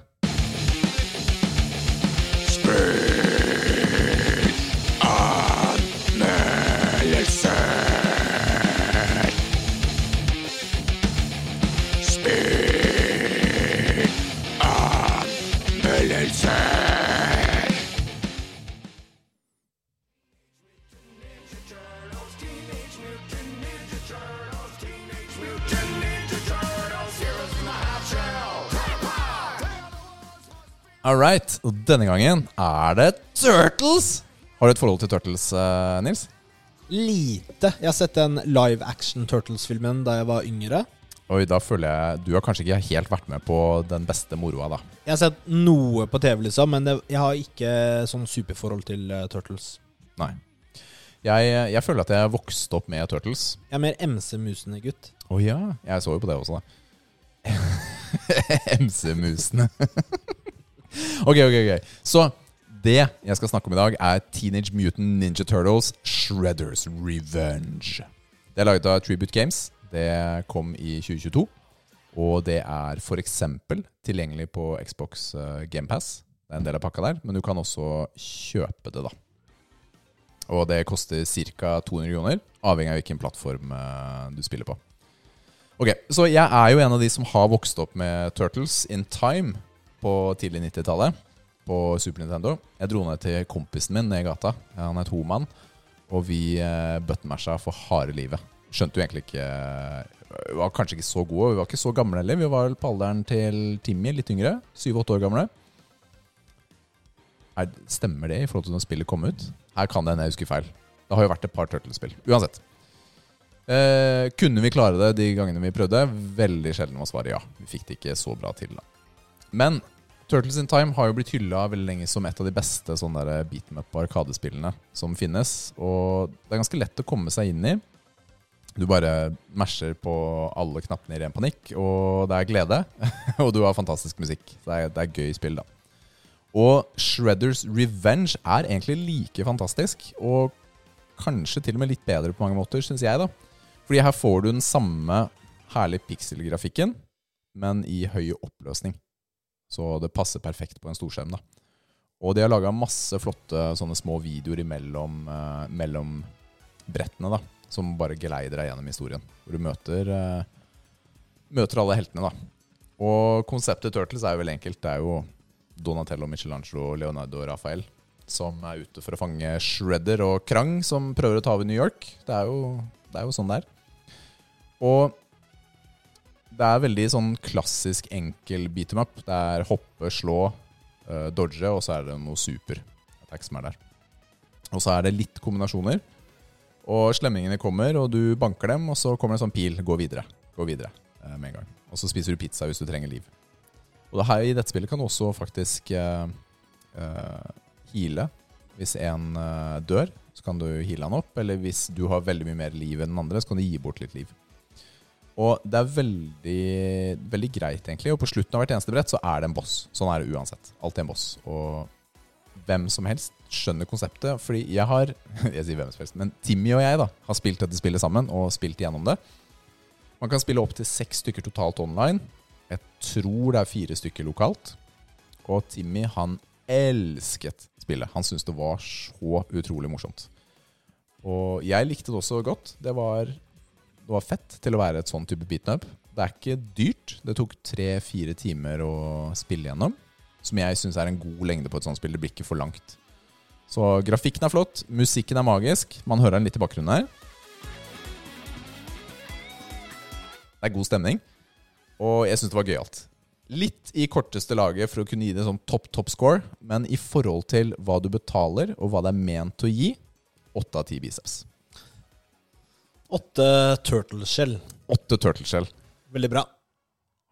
All right. Og denne gangen er det Turtles! Har du et forhold til Turtles, eh, Nils?
Lite. Jeg har sett den live action Turtles-filmen da jeg var yngre.
Oi, da føler jeg Du har kanskje ikke helt vært med på den beste moroa, da.
Jeg har sett noe på TV, liksom, men det, jeg har ikke sånn superforhold til eh, Turtles.
Nei. Jeg, jeg føler at jeg vokste opp med Turtles.
Jeg er mer MC-musende gutt.
Å ja. Jeg så jo på det også, da. MC-musene. ok, ok, ok. Så det jeg skal snakke om i dag, er Teenage Mutant Ninja Turtles Shredders Revenge. Det er laget av Tribute Games. Det kom i 2022. Og det er f.eks. tilgjengelig på Xbox GamePass. Det er en del av pakka der, men du kan også kjøpe det, da. Og det koster ca. 200 kroner, avhengig av hvilken plattform eh, du spiller på. Ok, Så jeg er jo en av de som har vokst opp med Turtles in Time på tidlig 90-tallet. På Super Nintendo. Jeg dro ned til kompisen min ned i gata. Han er homan. Og vi eh, buttonmasha for harde livet. Skjønte jo egentlig ikke eh, Vi var kanskje ikke så gode, vi var ikke så gamle heller. Vi var vel på alderen til Timmy, litt yngre. Syv-åtte år gamle. Er, stemmer det i forhold til når spillet kom ut? Her kan det hende jeg husker feil. Det har jo vært et par Turtles-spill. Uansett. Eh, kunne vi klare det de gangene vi prøvde? Veldig sjelden var svaret ja. Vi fikk det ikke så bra til, da. Men Turtles in Time har jo blitt hylla veldig lenge som et av de beste sånne der beat em up-arkadespillene som finnes. Og det er ganske lett å komme seg inn i. Du bare masher på alle knappene i ren panikk, og det er glede. og du har fantastisk musikk. Så det er, det er gøy spill, da. Og Shredders Revenge er egentlig like fantastisk, og kanskje til og med litt bedre på mange måter, syns jeg, da. Fordi her får du den samme herlige pikselgrafikken, men i høy oppløsning. Så det passer perfekt på en storskjerm, da. Og de har laga masse flotte sånne små videoer imellom, eh, mellom brettene, da. Som bare geleider deg gjennom historien. Hvor du møter, eh, møter alle heltene, da. Og konseptet Turtles er jo veldig enkelt. Det er jo Donatello, Michelangelo, Leonardo og Rafael som er ute for å fange Shredder og Krang, som prøver å ta over New York. Det er jo, det er jo sånn det er. Og det er veldig sånn klassisk enkel beat em up. Det er hoppe, slå, eh, dodge, og så er det noe super attack som er der. Og så er det litt kombinasjoner. Og slemmingene kommer, og du banker dem, og så kommer det en sånn pil. Gå videre. Gå videre eh, med en gang. Og så spiser du pizza hvis du trenger liv. Og det her i dette spillet kan du også faktisk eh, eh, heale. Hvis en eh, dør, så kan du heale han opp. Eller hvis du har veldig mye mer liv enn den andre, så kan du gi bort litt liv. Og det er veldig, veldig greit, egentlig. Og på slutten av hvert eneste brett så er det en boss. Sånn er det uansett. Alltid en boss. Og hvem som helst skjønner konseptet. Fordi jeg har Jeg sier hvem som helst, men Timmy og jeg da har spilt dette spillet sammen og spilt gjennom det. Man kan spille opptil seks stykker totalt online. Jeg tror det er fire stykker lokalt. Og Timmy, han elsket spillet. Han syntes det var så utrolig morsomt. Og jeg likte det også godt. Det var, det var fett til å være et sånn type beatnup. Det er ikke dyrt. Det tok tre-fire timer å spille gjennom. Som jeg syns er en god lengde på et sånt spill. Det blir ikke for langt. Så grafikken er flott, musikken er magisk. Man hører den litt i bakgrunnen her. Det er god stemning. Og jeg syns det var gøyalt. Litt i korteste laget for å kunne gi det en sånn topp, topp score, men i forhold til hva du betaler, og hva det er ment å gi, åtte av ti biceps.
Åtte turtleshell.
Åtte turtleshell.
Veldig bra.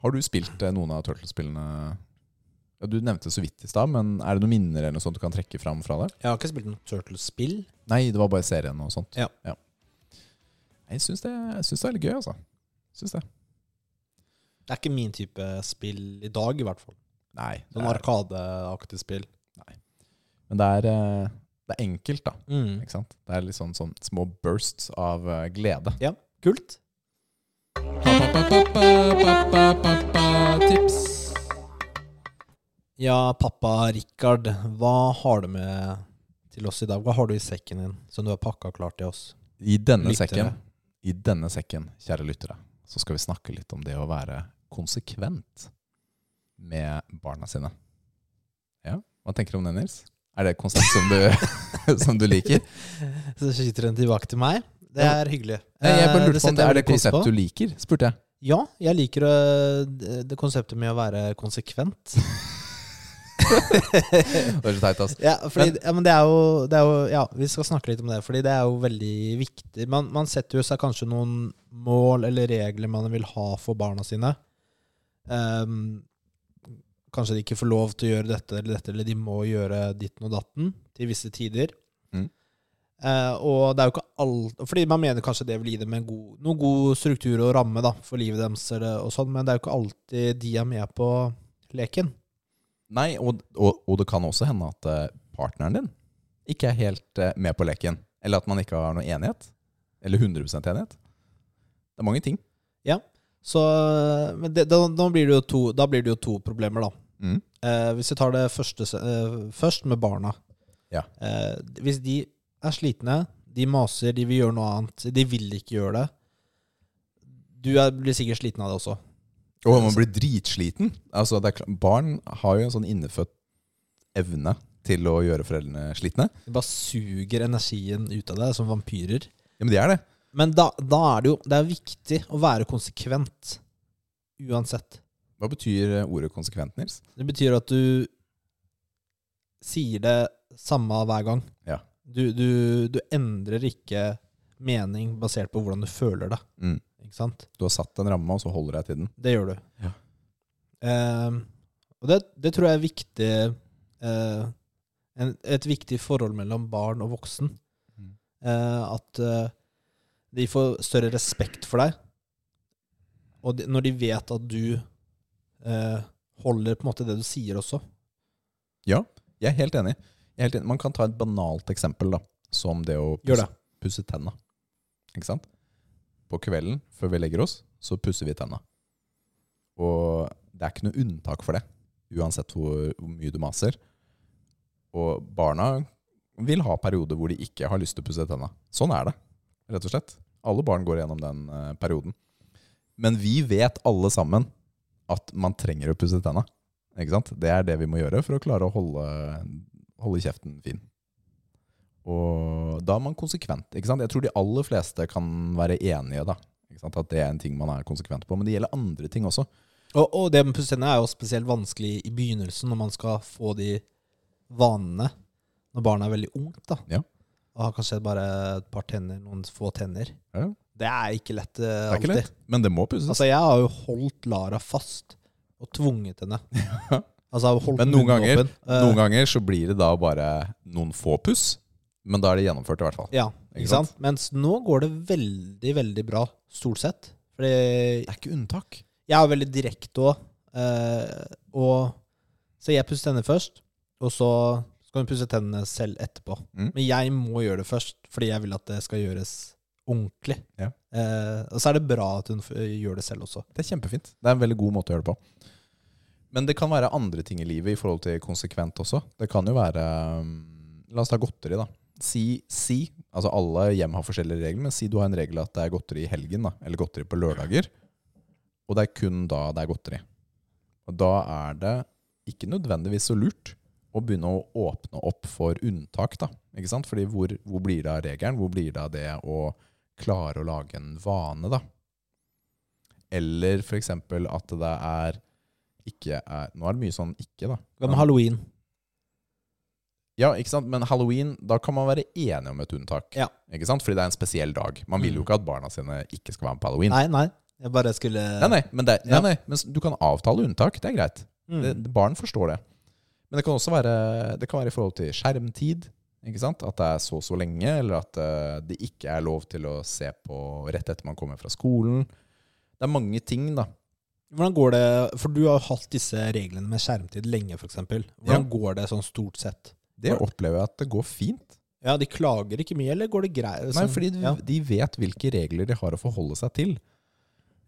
Har du spilt eh, noen av turtlespillene ja, Du nevnte det så vidt i stad, men er det noen minner eller noe sånt du kan trekke fram fra det?
Jeg har ikke spilt noe turtlespill.
Nei, det var bare serien og sånt.
Ja.
Jeg syns det, jeg syns det er litt gøy, altså. Syns det.
Det er ikke min type spill i dag, i hvert fall.
Nei. det
Sånn
er-
arkadeaktig spill.
Men det er, eh, Det er enkelt, da.
Mm.
Ikke sant? Det er litt sånn, sånn små bursts av eh, glede.
Kult.
Tips.
Ja, pappa Richard, hva har du med til oss i dag? Hva har du i sekken din som du har pakka klart til oss?
I denne
Lyttere.
sekken, i denne sekken, kjære lyttere, så skal vi snakke litt om det å være konsekvent med barna sine. Ja, hva tenker du om det, Nils? Er det et konsept som du, som du liker?
Så skyter den tilbake til meg. Det er hyggelig. Eh,
Nei, jeg bare lurte på om Eh, det er det
konseptet
konseptet du liker, spurte jeg.
Ja, jeg liker øh, det det konseptet med å være konsekvent.
Det er så teit, ass.
Ja, fordi, ja, men det er, jo, det er jo Ja, vi skal snakke litt om det, fordi det er jo veldig viktig. Man, man setter jo seg kanskje noen mål eller regler man vil ha for barna sine. Ehm, kanskje de ikke får lov til å gjøre dette eller dette, eller de må gjøre ditten og datten til visse tider.
Mm.
Eh, og det er jo ikke alt Fordi man mener kanskje det vil gi dem en god, noen god struktur og ramme da, for livet deres, eller, og sånn, men det er jo ikke alltid de er med på leken.
Nei, og, og, og det kan også hende at eh, partneren din ikke er helt eh, med på leken. Eller at man ikke har noen enighet. Eller 100 enighet. Det er mange ting.
Så, men det, da, da, blir det jo to, da blir det jo to problemer, da.
Mm.
Eh, hvis vi tar det første, se- eh, først med barna.
Ja.
Eh, hvis de er slitne, de maser, de vil gjøre noe annet, de vil ikke gjøre det. Du er, blir sikkert sliten av det også.
Og man blir dritsliten. Altså, det er klart, barn har jo en sånn innefødt evne til å gjøre foreldrene slitne.
De bare suger energien ut av deg som vampyrer.
Ja, men de er det.
Men da, da er det jo det er viktig å være konsekvent uansett.
Hva betyr eh, ordet konsekvent, Nils?
Det betyr at du sier det samme hver gang.
Ja.
Du, du, du endrer ikke mening basert på hvordan du føler det.
Mm.
Ikke sant?
Du har satt en ramme, og så holder du deg til den.
Det gjør du.
Ja.
Ehm, og det, det tror jeg er viktig eh, en, Et viktig forhold mellom barn og voksen.
Mm.
Eh, at eh, de får større respekt for deg. Og de, når de vet at du eh, holder på en måte det du sier også.
Jeg er helt enig. Jeg er helt enig. Man kan ta et banalt eksempel, da. Som det å
Gjør det.
pusse, pusse tenna. Ikke sant? På kvelden, før vi legger oss, så pusser vi tenna. Og det er ikke noe unntak for det. Uansett hvor, hvor mye du maser. Og barna vil ha perioder hvor de ikke har lyst til å pusse tenna. Sånn er det, rett og slett. Alle barn går gjennom den eh, perioden. Men vi vet alle sammen at man trenger å pusse tenna. Ikke sant? Det er det vi må gjøre for å klare å holde, holde kjeften fin. Og da er man konsekvent. Ikke sant? Jeg tror de aller fleste kan være enige da. Ikke sant? At det er en ting man er konsekvent på. Men det gjelder andre ting også.
Og, og det med pusse tenner er jo spesielt vanskelig i begynnelsen, når man skal få de vanene når barnet er veldig ungt. da.
Ja.
Og har kanskje bare et par tenner, noen få tenner.
Ja.
Det er ikke lett eh,
Det er ikke
alltid.
lett, men det må pusses.
Altså, jeg har jo holdt Lara fast og tvunget henne. Altså, jeg har holdt
Men noen
munnen
ganger-
åpen. Eh,
Noen ganger så blir det da bare noen få puss, men da er det gjennomført i hvert fall.
Ja,
Ikke
ikke sant? Mens nå går det veldig, veldig bra, stort sett. Fordi
Det er ikke unntak.
jeg er veldig direkte òg. og så jeg pusser tennene først, og så skal hun pusse tennene selv etterpå.
Mm.
Men jeg må gjøre det først, fordi jeg vil at det skal gjøres ordentlig.
Ja.
Eh, og så er det bra at hun f- eh, gjør det selv også.
Det er kjempefint. Det er en veldig god måte å gjøre det på. Men det kan være andre ting i livet i forhold til konsekvent også. Det kan jo være um, La oss ta godteri, da. Si, si Altså alle hjem har forskjellige regler, men si du har en regel at det er godteri i helgen, da. Eller godteri på lørdager. Og det er kun da det er godteri. Og da er det ikke nødvendigvis så lurt å begynne å åpne opp for unntak, da. Ikke sant? Fordi hvor, hvor blir det av regelen? Hvor blir det av det å klare å lage en vane, da? Eller f.eks. at det er ikke er Nå er det mye sånn ikke, da.
Hva med halloween?
Mm. Ja, ikke sant? Men halloween, da kan man være enige om et unntak.
Ja.
Ikke sant? Fordi det er en spesiell dag. Man vil jo ikke at barna sine ikke skal være med på halloween.
Nei, nei. Jeg bare skulle
Nei, nei, men, det, nei,
Ja.
nei, men du kan avtale unntak. Det er greit.
Mm.
Det, det- barn forstår det. Men det kan også være, det kan være i forhold til skjermtid. Ikke sant? At det er så og så lenge, eller at eh, det ikke er lov til å se på rett etter man kommer fra skolen. Det er mange ting, da.
Hvordan går det, for Du har hatt disse reglene med skjermtid lenge, f.eks. Hvordan
Ja.
går det sånn stort sett?
Det opplever jeg at det går fint.
Ja, De klager ikke mye, eller går det greit?
Nei, fordi de,
ja.
de vet hvilke regler de har å forholde seg til.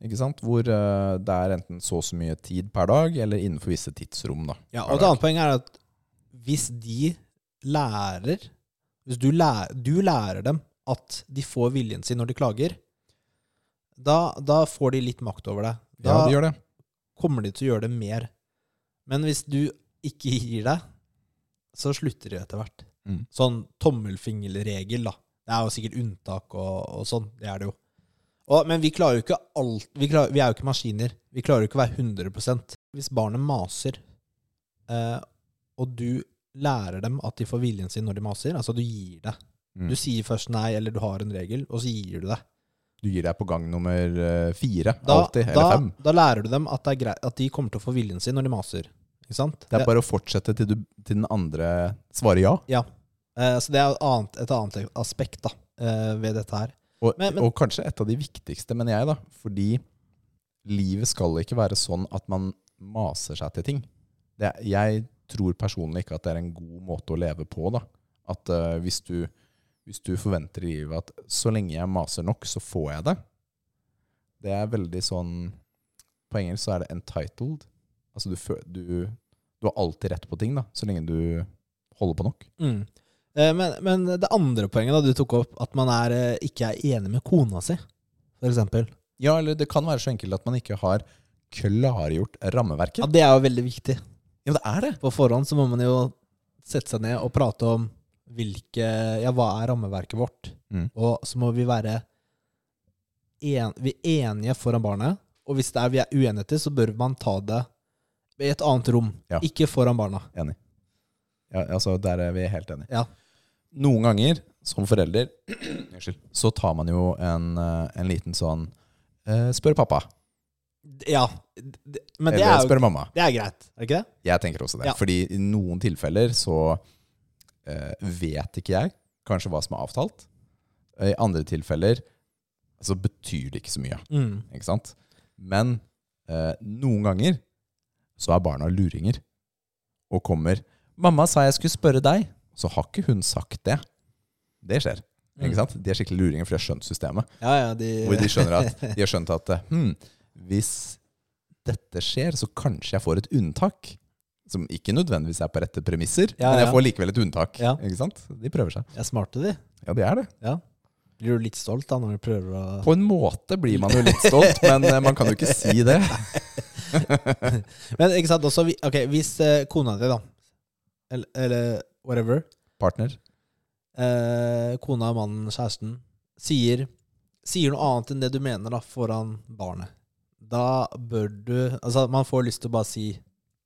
Ikke sant? Hvor eh, det er enten så og så mye tid per dag, eller innenfor visse tidsrom. da.
ja,
per
Og et
dag.
annet poeng er at hvis de lærer Hvis du lærer, du lærer dem at de får viljen sin når de klager, da, da får de litt makt over deg. Da
Ja, de gjør det.
kommer de til å gjøre det mer. Men hvis du ikke gir deg, så slutter de etter hvert.
Mm.
Sånn tommelfingerregel, da. Det er jo sikkert unntak og, og sånn. Det er det jo. Og, men vi klarer jo ikke alt vi, klarer, vi er jo ikke maskiner. Vi klarer jo ikke å være 100 Hvis barnet maser, eh, og du lærer dem at de får viljen sin når de maser, altså du gir deg
Mm.
Du sier først nei, eller du har en regel, og så gir du deg.
Du gir deg på gang nummer eh, fire
Da,
alltid,
da,
eller fem.
da lærer du dem at, det er grei, at de kommer til å få viljen sin når de maser. Ikke sant?
Det er bare å fortsette til, du, til den andre svarer ja.
Eh, så det er et annet, et annet aspekt da, eh, ved dette her.
Og,
Men- men-
og kanskje et av de viktigste, mener jeg, da. Fordi livet skal ikke være sånn at man maser seg til ting. Det, er- jeg tror personlig ikke at det er en god måte å leve på, da. At eh, hvis, du, hvis du forventer i livet at så lenge jeg maser nok, så får jeg det. Det er veldig sånn På engelsk så er det entitled. Altså du, fø- du, du har alltid rett på ting, da. Så lenge du holder på nok.
Mm. Eh, men, men det andre poenget da, du tok opp, at man er, eh, ikke er enig med kona si, for eksempel.
Ja, eller det kan være så enkelt at man ikke har klargjort rammeverket.
Ja, det er jo veldig viktig.
Ja, men det er det.
På forhånd så må man jo sette seg ned og prate om hvilke, ja, hva er rammeverket vårt.
Mm.
Og så må vi være en, vi er enige foran barnet, og hvis det er vi er uenigheter, så bør man ta det i et annet rom,
Ja.
ikke foran barna.
Ja, altså, Der er vi helt enige.
Ja.
Noen ganger, som forelder, Unnskyld. så tar man jo en, eh, en liten sånn eh, Spør pappa.
Ja, d- men det
Eller
er jo
spør mamma.
Det er greit, er det ikke det?
Jeg tenker også det.
Ja.
Fordi i noen tilfeller så eh, vet ikke jeg kanskje hva som er avtalt. I andre tilfeller så betyr det ikke så mye.
Mm.
Ikke sant? Men eh, noen ganger så er barna luringer og kommer 'Mamma sa jeg skulle spørre deg.' Så har ikke hun sagt det. Det skjer.
Mm.
Ikke sant? De er skikkelig luringer, for de har skjønt systemet.
Ja, ja, de,
Hvor de skjønner at, de har skjønt at eh, hm, hvis dette skjer, så kanskje jeg får et unntak. Som ikke nødvendigvis er på rette premisser,
Ja,
men jeg
ja.
får likevel et unntak.
Ja.
Ikke sant? De prøver seg.
er smarte, de.
Ja, det er det.
Blir du litt stolt da når du prøver å
På en måte blir man jo litt stolt, men eh, man kan jo ikke si det.
Men ikke sant, også vi- Ok, hvis eh, kona di, da, eller, eller whatever
Partner.
eh, Kona, mannen, kjæresten sier, sier noe annet enn det du mener da foran barnet. Da bør du Altså, man får lyst til å bare si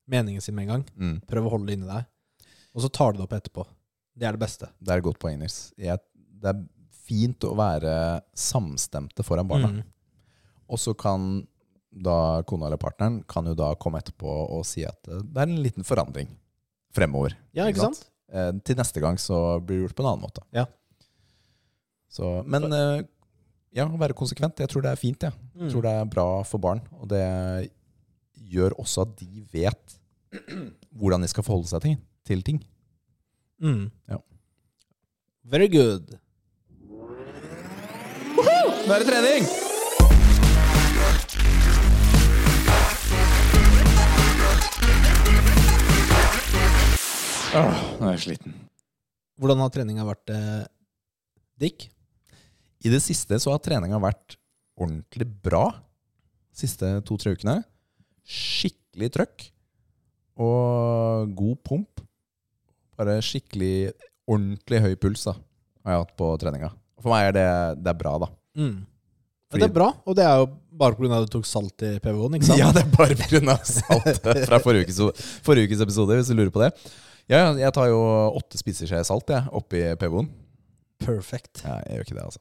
meningen sin med en gang.
Mm.
Prøv å holde det inni deg. Og så tar du det opp etterpå. Det er det beste.
Det er et godt poeng, Nils. Jeg, det er fint å være samstemte foran barna.
Mm.
Og så kan da kona eller partneren kan jo da komme etterpå og si at eh, det er en liten forandring fremover.
Ja, ikke sant?
Eh, til neste gang så blir det gjort på en annen måte.
Ja.
Så, men eh, ja, å være konsekvent, jeg tror det er fint. Jeg.
Mm.
jeg tror det er bra for barn. Og det gjør også at de vet hvordan de skal forholde seg til, til ting.
Mm.
Ja.
Very good.
Nå er det trening! Åh, Ah, nå er jeg sliten.
Hvordan har treninga vært, eh, Dick?
I det siste så har treninga vært ordentlig bra. Siste to-tre ukene. Skikkelig trøkk. Og god pump. Bare skikkelig ordentlig høy puls da, har jeg hatt på treninga. For meg er det, det er bra, da.
Mm. Ja,
Fordi-
det er bra, og det er jo bare pga. at du tok salt i PVO-en, ikke sant?
Ja, det er bare pga. saltet fra forrige ukes, forrige ukes episode, hvis du lurer på det. Ja, ja, jeg tar jo åtte spiseskjeer salt jeg, oppi PVO-en.
Perfect.
Ja, jeg gjør ikke det, altså.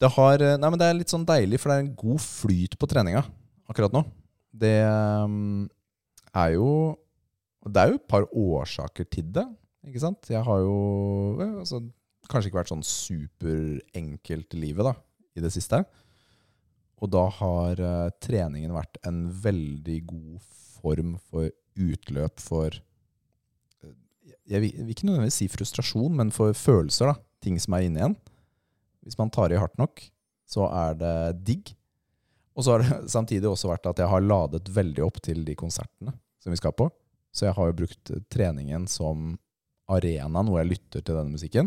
Det, har, nei, men det er litt sånn deilig, for det er en god flyt på treninga akkurat nå. Det um, er jo og Det er jo et par årsaker til det, ikke sant? Jeg har jo ja, altså, kanskje ikke vært sånn superenkelt i livet, da, i det siste. Og da har eh, treningen vært en veldig god form for utløp for eh, jeg vil, vil ikke nødvendigvis si frustrasjon, men for følelser, da. Ting som er inne igjen. Hvis man tar i hardt nok, så er det digg. Og så har det samtidig også vært at jeg har ladet veldig opp til de konsertene som vi skal på. Så jeg har jo brukt treningen som arenaen hvor jeg lytter til denne musikken.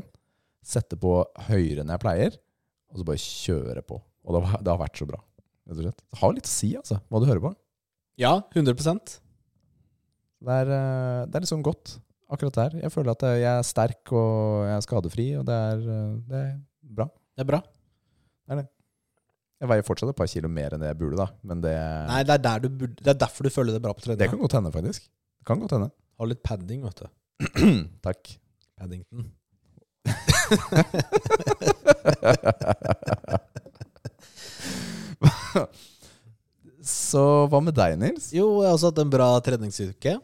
Setter på høyere enn jeg pleier, og så bare kjøre på. Og det har, det har vært så bra, rett og slett. Det har litt å si, altså, hva du hører på.
Ja, 100
Det er, eh, det er liksom godt akkurat der. Jeg føler at eh, jeg er sterk og jeg er skadefri, og det er, eh, det er bra.
Det er bra.
Jeg veier fortsatt et par kilo mer enn det jeg burde, da. Men det,
Nei, det er, der du burde, det er derfor du føler det bra på
det
trening.
kan godt hende, faktisk. Det kan godt hende.
Ha litt padding, vet du.
Takk.
Paddington.
Så hva med deg, Nils?
Jo, jeg har også hatt en bra treningsuke.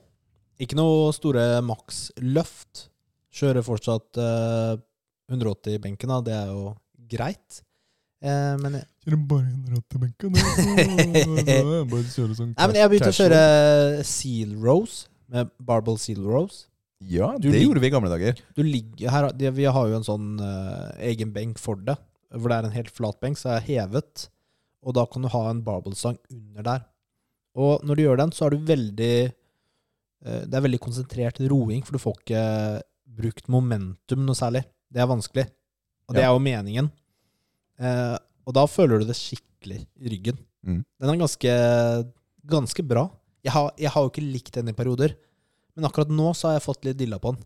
Ikke noe store maksløft. Kjører fortsatt eh, 180 i benken, da. Det er jo greit. Eh, men, jeg,
Kjører bare 180 benken. Bare kjøre sånn
nei, men jeg har begynt å kjøre seal rows. Med barbell seal rows.
Ja,
Du
det
lik-
gjorde vi i gamle dager.
Du ligger her, de- Vi har jo en sånn eh, egen benk for det, hvor det er en helt flat benk, så er hevet. Og da kan du ha en barbellstang under der. Og når du gjør den, så er du veldig eh, Det er veldig konsentrert roing, for du får ikke brukt momentum noe særlig. Det er vanskelig. Og det
Ja.
er jo meningen. Eh, og da føler du det skikkelig i ryggen.
Mm.
Den er ganske, ganske bra. Jeg har, jeg har jo ikke likt den i perioder, men akkurat nå så har jeg fått litt dilla på den.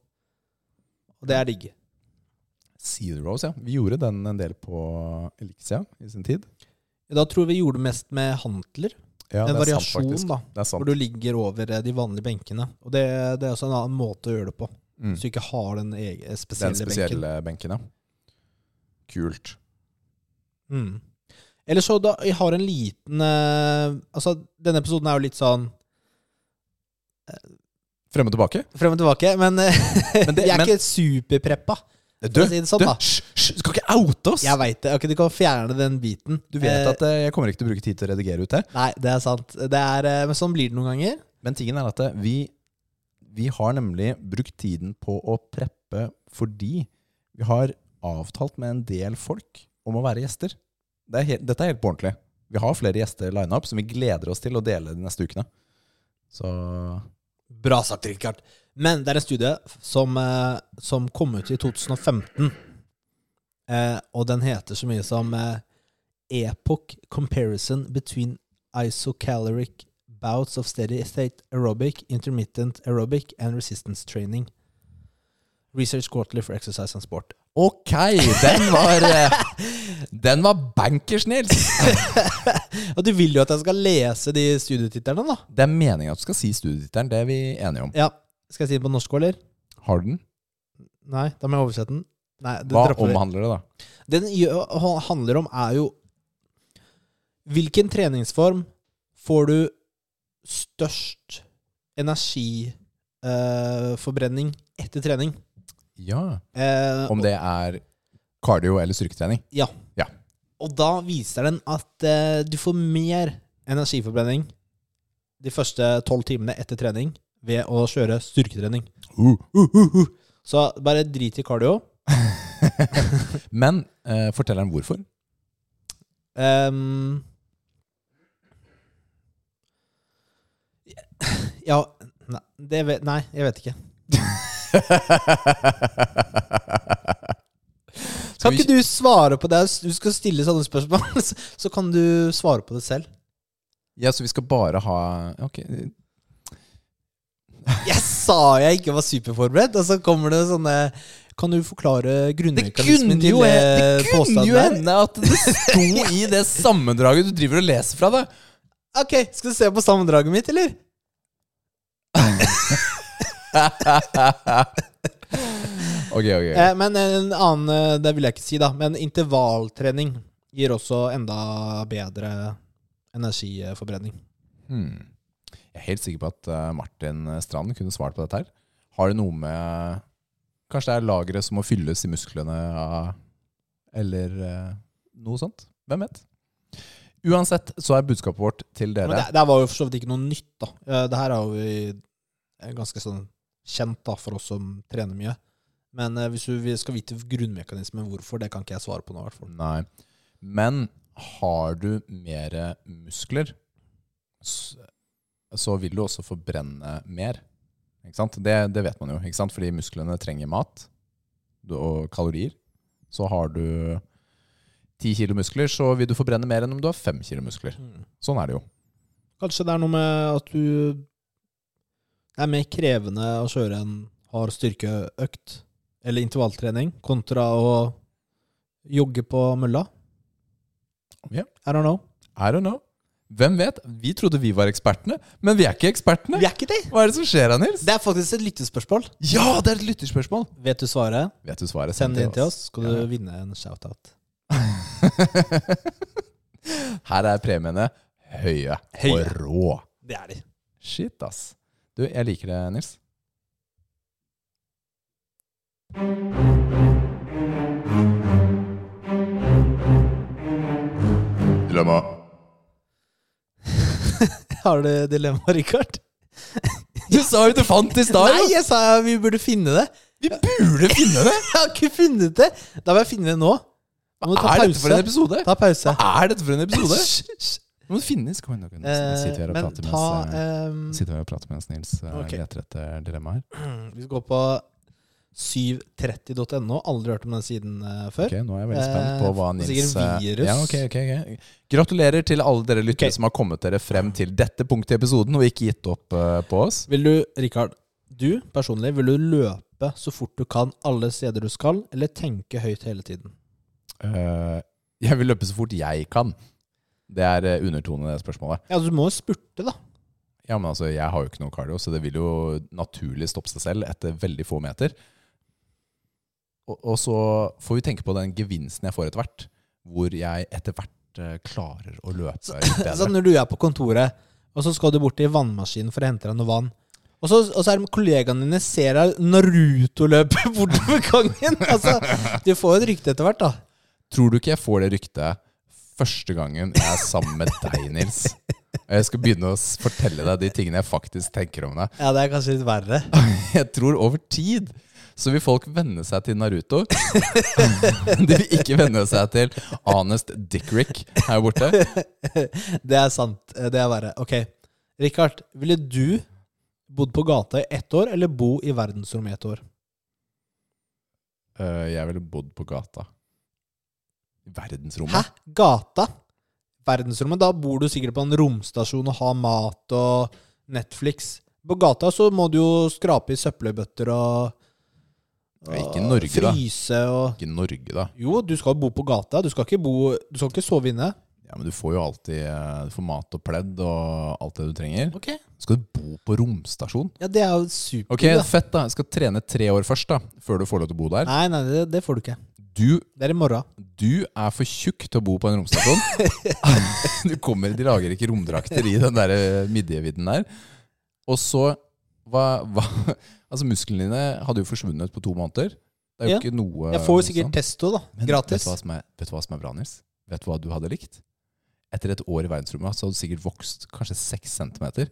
Og det er digg.
Seal Rose, ja. Vi gjorde den en del på Elixia i sin tid.
Da tror jeg vi gjorde mest med hantler.
Ja,
en
det er sant,
variasjon,
faktisk.
da.
Det er sant.
Hvor du ligger over eh, de vanlige benkene. Og det, det er også en annen måte å gjøre det på.
Mm.
Så du ikke har den egen,
Den
spesielle, benken.
spesielle benken, ja. Kult.
Mm. Eller så da, jeg har en liten eh, Altså, denne episoden er jo litt sånn
Frem og tilbake.
frem og tilbake, men, eh,
Men det-
jeg er
men- Eh,
ikke superpreppa.
Du,
For å si det sånn, da.
hysj, hysj, du skal ikke oute oss!
Jeg veit det. Ok, du kan fjerne den biten.
Du vet
Eh,
at eh, jeg kommer ikke til å bruke tid til å redigere ut det.
Nei, det er sant. Det er, eh, men sånn blir det noen ganger.
Men tingen er at eh, vi, vi har nemlig brukt tiden på å preppe fordi vi har avtalt med en del folk om å være gjester. Det er helt, dette er helt på ordentlig. Vi har flere gjester lina opp som vi gleder oss til å dele de neste ukene. Så
Bra sagt, Rikard. Men det er en studie som, eh, som kom ut i 2015. Eh, og den heter så mye som eh, Epoch Comparison Between Isocaloric Bouts of Steady State Aerobic, Intermittent Aerobic and Resistance Training. Research Quarterly for Exercise and Sport.
Ok, den var, eh, den var bankers, Nils!
Og du vil jo at jeg skal lese de studietitlene, da.
Det er meningen at du skal si studietittelen, det er vi enige om.
Ja. Skal jeg si den på norsk, eller?
Har du den?
Nei, da må jeg oversette den. Nei, det
Hva
dropper vi.
omhandler det, da?
Det den gjø- ha- handler om, er jo Hvilken treningsform får du størst energiforbrenning etter trening?
Ja,
Eh,
Om det er cardio eller styrketrening?
Og da viser den at eh, du får mer energiforbrenning de første tolv timene etter trening ved å kjøre styrketrening.
Uh,
Så bare drit i cardio.
Men eh, fortell dem hvorfor.
Ehm, ja nei, det vet, nei, jeg vet ikke.
Skal
Kan
vi,
ikke du svare på det? Du skal stille sånne spørsmål, så- så kan du svare på det selv.
ja, så vi skal bare ha Ok.
Jeg sa jeg ikke var superforberedt, og så kommer det sånne Kan du forklare grunnmekanismen til eh, påstanden der?
at det sto i det sammendraget du driver og leser fra deg.
Ok, skal du se på sammendraget mitt, eller?
Ok, ok.
Eh, men en annen eh, Det vil jeg ikke si, da. Men intervalltrening gir også enda bedre energiforbrenning.
Hmm. Jeg er helt sikker på at eh, Martin Strand kunne svart på dette her. Har det noe med Kanskje det er lageret som må fylles i musklene av Eller eh, noe sånt? Hvem vet? Uansett så er budskapet vårt til
Men
dere
det, det her var jo for så vidt ikke noe nytt, da. Eh, Det her er jo i- er ganske sånn kjent da, for oss som trener mye. Men eh, hvis du vi skal vite grunnmekanismen hvorfor, det kan ikke jeg svare på nå. i hvert fall.
Nei. Men har du mer muskler, s- så vil du også forbrenne mer. Ikke sant? Det, det vet man jo, ikke sant? fordi musklene trenger mat du- og kalorier. Så har du ti kilo muskler, så vil du forbrenne mer enn om du har fem kilo muskler.
Mm.
Sånn er det jo.
Kanskje det er noe med at du Det er mer krevende å kjøre en hard styrkeøkt eller intervalltrening kontra å jogge på mølla.
Ja.
I don't know.
I don't know. Hvem vet? Vi trodde vi var ekspertene, men vi er ikke ekspertene.
er ikke det!
Hva er det som skjer da, Nils?
Det er faktisk et lyttespørsmål.
Ja, det er et lytterspørsmål!
Vet du svaret?
Vet du svaret?
Send det inn til oss, skal
Ja.
du vinne en shout-out.
Her er premiene høye,
Høye.
og rå.
Det er de.
Shit, ass. Du, jeg liker det, Nils. Dilemma.
Har du dilemma, Richard?
Du sa jo du fant det i stad!
Nei,
jo.
jeg sa jo vi burde finne det.
Vi burde finne det!
Jeg har ikke funnet det! Da må jeg finne det nå. Nå må du ta
Hva er dette for en
pause.
episode?
Ta pause.
Hva er dette for en episode?
Hysj, hysj.
Du må finne Kom igjen, nå kan vi
Eh,
sitte her og
Men
prate
ta
mens, eh,
ehm,
sitter her og prater mens Nils eh,
Ok.
leter etter dilemmaer.
Vi skal gå på 730.no. Aldri hørt om den siden eh, før.
Ok, nå er jeg veldig spent på hva
Eh,
Nils
sikkert
eh,
virus.
Ja, ok, ok, ok. Gratulerer til alle dere lyttere
Ok.
som har kommet dere frem til dette punktet i episoden og ikke gitt opp eh, på oss.
Vil du, Rikard, du personlig, vil du løpe så fort du kan alle steder du skal, eller tenke høyt hele tiden?
Eh, jeg vil løpe så fort jeg kan. Det er eh, undertonen i det spørsmålet.
Ja, du må jo spurte, da.
Ja, men altså, Jeg har jo ikke noe kardio, så det vil jo naturlig stoppe seg selv etter veldig få meter. Og, og så får vi tenke på den gevinsten jeg får etter hvert, hvor jeg etter hvert eh, klarer å løpe litt bedre.
Så når du er på kontoret, og så skal du bort til vannmaskinen for å hente deg noe vann. Og så, og så er det kollegaene dine ser deg Naruto-løpe bortover gangen. Altså, du får jo et rykte etter hvert, da.
Tror du ikke jeg får det ryktet første gangen jeg er sammen med deg, Nils? Og jeg skal begynne å s- fortelle deg de tingene jeg faktisk tenker om deg.
Ja, det er kanskje litt verre.
Jeg tror over tid så vil folk venne seg til Naruto. De vil ikke venne seg til Honest Dickrick her borte.
Det er sant. Det er verre. Ok. Richard, ville du bodd på gata i ett år, eller bo i verdensrommet i ett år?
Eh, Jeg ville bodd på gata. I
Hæ?
Verdensrommet.
Gata? Verdensrommet? Da bor du sikkert på en romstasjon og har mat og Netflix. På gata så må du jo skrape i søppelbøtter og,
Ja, ikke i Norge, da.
fryse og
Ikke Norge, da.
Jo, du skal bo på gata. Du skal ikke, bo, du skal ikke sove inne.
Ja, Men du får jo alltid eh, du får mat og pledd og alt det du trenger.
Ok.
Skal du bo på romstasjon?
Ja, det er jo supert.
Ok, fett da. Jeg skal trene tre år først da, før du får lov til å bo der.
Nei, nei, det, det får du ikke.
Du,
Det er i morgen.
du er for tjukk til å bo på en romstasjon. du kommer, de lager ikke romdrakter i den der eh, midjevidden der. Og så, hva, hva, altså musklene dine hadde jo forsvunnet på to måneder. Det er jo
Ja.
ikke noe...
Jeg får jo
sånn.
sikkert testo, da.
Men
Gratis.
Vet du, hva som er, vet du hva som er bra, Nils? Vet du hva du hadde likt? Etter et år i verdensrommet så hadde du sikkert vokst kanskje seks centimeter.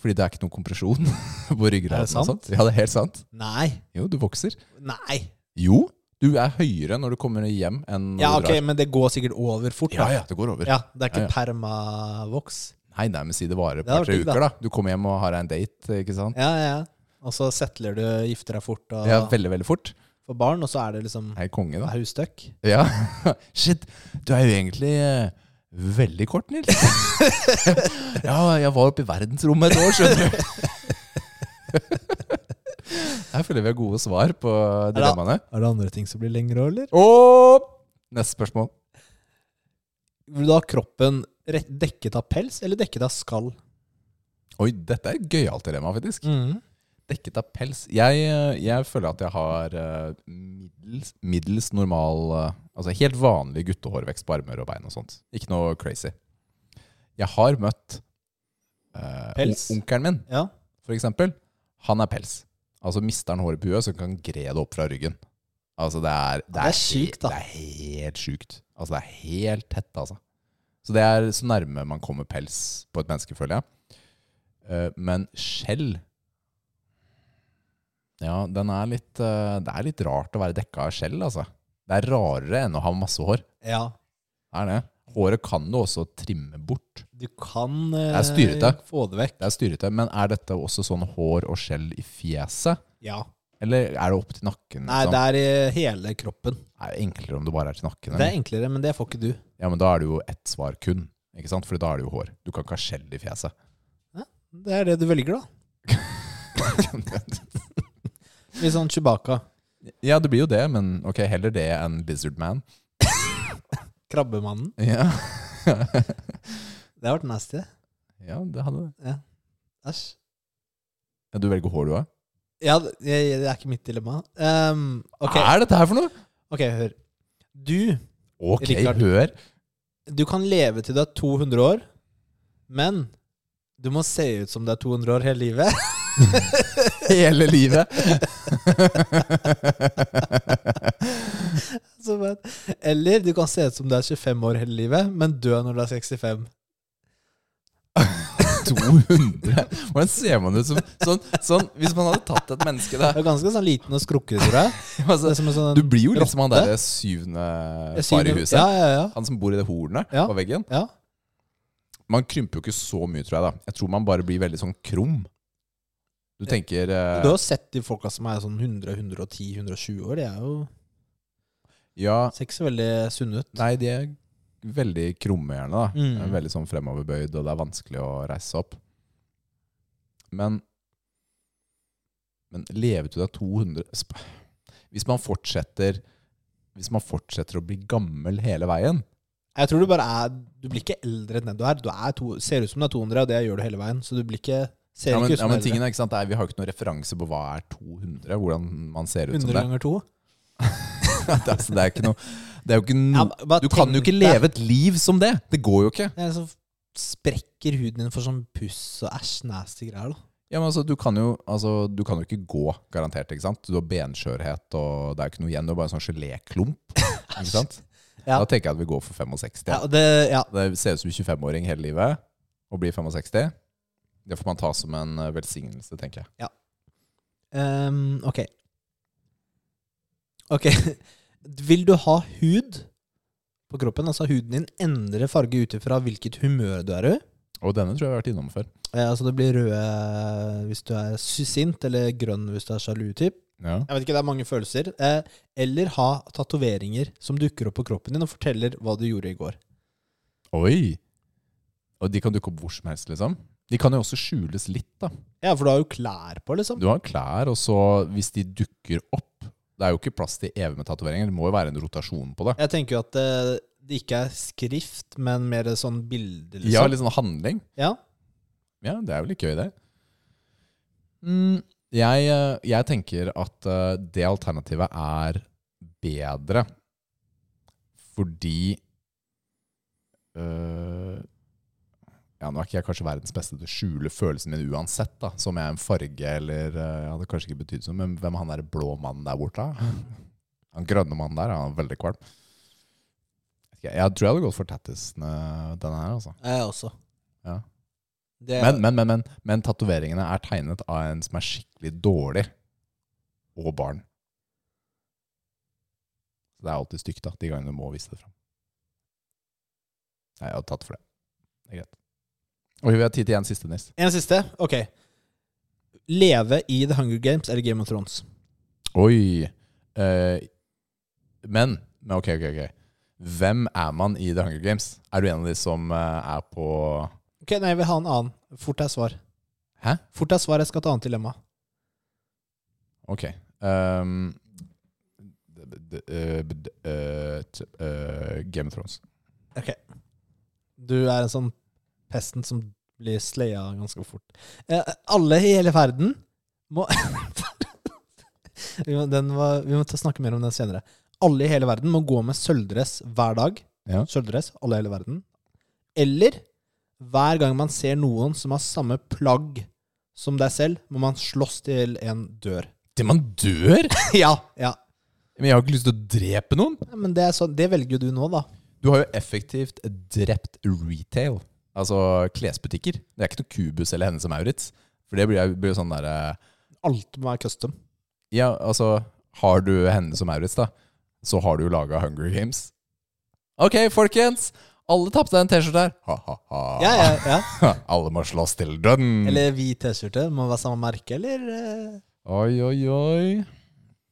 Fordi det er ikke noen kompresjon på ryggraden. og
sant?
sånt. Ja, det er helt sant.
Nei.
Jo, du vokser.
Nei.
Jo, du er høyere når du kommer hjem enn når
Ja,
du
ok, men det går sikkert over fort.
Ja,
da.
ja, det går over.
Ja, det er ikke
Ja, ja.
permavoks.
Nei, nei, men si det varer et
Det hadde
par tre
vært digg,
uker, da. Du kommer hjem og har en date, ikke sant?
Ja, ja. Og så settler du, gifter deg fort og
Ja, veldig, veldig fort.
får barn, og så er det liksom
Hei, konge, da.
haustøkk.
Ja. Shit, du er jo egentlig eh, veldig kort, Nils. ja, jeg var oppe i verdensrommet et år, skjønner du. Her føler vi har gode svar på dilemmaene.
Er det andre ting som blir lengre òg, eller?
Og neste spørsmål.
Vil du ha kroppen rett- dekket av pels eller dekket av skall?
Oi, dette er et gøyalt dilemma, faktisk. Dekket av pels. Jeg, eh, jeg føler at jeg har eh, middels, middels normal eh, Altså helt vanlig guttehårvekst på armer og bein og sånt. Ikke noe crazy. Jeg har møtt eh,
Pels?
on- onkelen min.
Ja.
for eksempel, han er pels. Altså mister han håret på huet, så kan han gre det opp fra ryggen. Altså det er
det er sjukt, da.
Det er helt sjukt. Altså det er helt tett, altså. Så det er så nærme man kommer pels på et menneske, føler jeg. Eh, Men skjell Ja, den er litt, eh, det er litt rart å være dekka av skjell, altså. Det er rarere enn å ha masse hår.
Ja,
Det er det. Håret kan du også trimme bort.
du kan eh,
er styrete.
få det vekk.
Det er styrete, men er dette også sånn hår og skjell i fjeset?
Ja.
Eller er det opp til nakken?
Nei,
liksom?
det er i hele kroppen.
Det er jo enklere om det bare er til nakken.
Det
Eller?
er enklere, men det får ikke du.
Ja, men da er det jo ett svar kun. Ikke sant? For da er det jo hår. Du kan ikke ha skjell i fjeset.
Det er det du velger, da. Litt sånn Chewbacca.
ja, det blir jo det, men ok, heller det enn Lizard Man.
Krabbemannen.
Ja,
Det har vært nasty. det.
ja det hadde det.
Æsj.
Ja, du velger hår, du òg?
Ja, det, jeg- det er ikke mitt dilemma. Ehm, ok,
Hva er dette her for noe?
ok, hør. Du,
Ok,
Rikard.
hør.
du kan leve til du er 200 år, men du må se ut som du er 200 år hele livet.
Hele livet.
Så bare- Eller du kan se ut som du er 25 år hele livet, men dø når du er 65.
200. Hvordan ser man ut som sånn, sånn Hvis man hadde tatt et menneske
Du
der
er ganske sånn liten og skrukket, tror jeg. Det er
altså,
som en sånn
Du blir jo litt som han
Rotte?
derre syvende
Jeg sier
Eh, far i
det-
huset.
Ja, ja, ja.
Han som bor i det hornet
Ja.
på veggen.
Ja.
Man krymper jo ikke så mye, tror jeg. da Jeg tror man bare blir veldig sånn krum. Du tenker eh,
Du har jo sett de folka som er sånn 100, 110, 120 år. De er jo
Ja,
ser ikke så veldig sunne ut.
nei, de er veldig krumme, gjerne. da
Mm.
De er Veldig sånn fremoverbøyd, og det er vanskelig å reise seg opp. Men Men leve til du er 200 sp- Hvis man fortsetter Hvis man fortsetter å bli gammel hele veien
Jeg tror du bare er Du blir ikke eldre enn den du er. Du er to, ser ut som du er 200, og det gjør du hele veien. Så du blir ikke ser
ja, men,
ikke ut
ja,
som
men
du er eldre.
tingen er, ikke sant, det er, Vi har jo ikke noen referanse på hva er 200, hvordan man ser ut
100
som liksom det.
ganger 2.
det, er, så Altså, det er ikke noe Det er jo ikke noe Mm. Du kan jo ikke
Det
leve et liv som det. Det går jo ikke.
er så sprekker huden din for sånn puss og æsj, nasty greier. da
Ja, men altså, du, kan jo, altså, du kan jo ikke gå, garantert. ikke sant? Du har benskjørhet, og det er jo ikke noe igjen. Du er bare en sånn geléklump. ikke sant?
Ja.
Da tenker jeg at vi går for 65.
Ja, og det, ja.
Det ser ut som en 25-åring hele livet, og blir 65. Det får man ta som en eh, velsignelse, tenker jeg.
Ehm, ok. Ok. Vil du ha hud på kroppen? Altså huden din endrer farge ut ifra hvilket humør du er i.
Og denne tror jeg vi har vært innom før.
Eh, altså det blir røde hvis du er sy- sint, eller grønn hvis du er sjalu typ.
Ja.
Jeg vet ikke, det er mange følelser. Eh, eller ha tatoveringer som dukker opp på kroppen din og forteller hva du gjorde i går.
Oi! Og de kan dukke opp hvor som helst, liksom. De kan jo også skjules litt, da.
Ja, for du har jo klær på, liksom.
Du har klær, og så hvis de dukker opp Det er jo ikke plass til evig med tatoveringer. Det må jo være en rotasjon på det.
Jeg tenker jo at eh, det ikke er skrift, men mer sånn bilde,
Ja,
liksom.
litt sånn handling.
Ja.
Ja, det er jo litt gøy, det. Mm, jeg, eh, jeg tenker at eh, det alternativet er bedre fordi øh, Ja, nå er ikke jeg kanskje verdens beste til å skjule følelsen min uansett, da. Som jeg er en farge eller uh, hadde kanskje ikke betydd sånn, men hvem er han der blå mannen der borte? da? Han grønne mannen der, han er veldig kvalm. Vet ikke, Jeg tror jeg hadde gått for tattisene denne her, altså.
Jeg også.
Ja.
Det,
Men, men, men, men, men tatoveringene er tegnet av en som er skikkelig dårlig, og barn. Så det er alltid stygt, da, de gangene du må vise det fram. Nei, jeg har tatt for det. Det er greit. Og vi har tid til en siste, Nils.
En siste. Ok. Leve i The Hunger Games eller Game of Thrones?
Oi! Eh, men men ok, ok, ok. Hvem er man i The Hunger Games? Er du en av de som eh, er på
Ok, Nei, jeg vil ha en annen. Fort er svar.
Hæ?
Fort er svar. Jeg skal ha et annet dilemma.
Ok. ehm, d- d- eh, d- eh, t- eh, Game of Thrones.
Du er en sånn pesten som blir slaya ganske fort. Eh, alle i hele verden må vi, må, den var, vi må ta- snakke mer om den senere. Alle i hele verden må gå med sølvdress hver dag.
Ja.
Sølvdress, alle i hele verden. Eller hver gang man ser noen som har samme plagg som deg selv, må man slåss til en dør.
Det man dør?
ja, ja.
Men jeg har ikke lyst til å drepe noen.
Ja, Men det, er sånn- det velger jo du nå, da.
Du har jo effektivt drept retail. Altså klesbutikker. Det er ikke noe Cubus eller Hennes og Maurits. For det blir jo blir jo sånn derre
Alt må være custom.
Ja, altså Har du henne som Maurits, da, så har du jo laga Hunger Games. Ok, folkens! Alle tapte en T-skjorte her. Ha-ha-ha.
Ja, ja, ja.
Alle må slåss til døden.
Eller hvit T-skjorte. Må være samme merke, eller? eh?
Oi, oi, oi.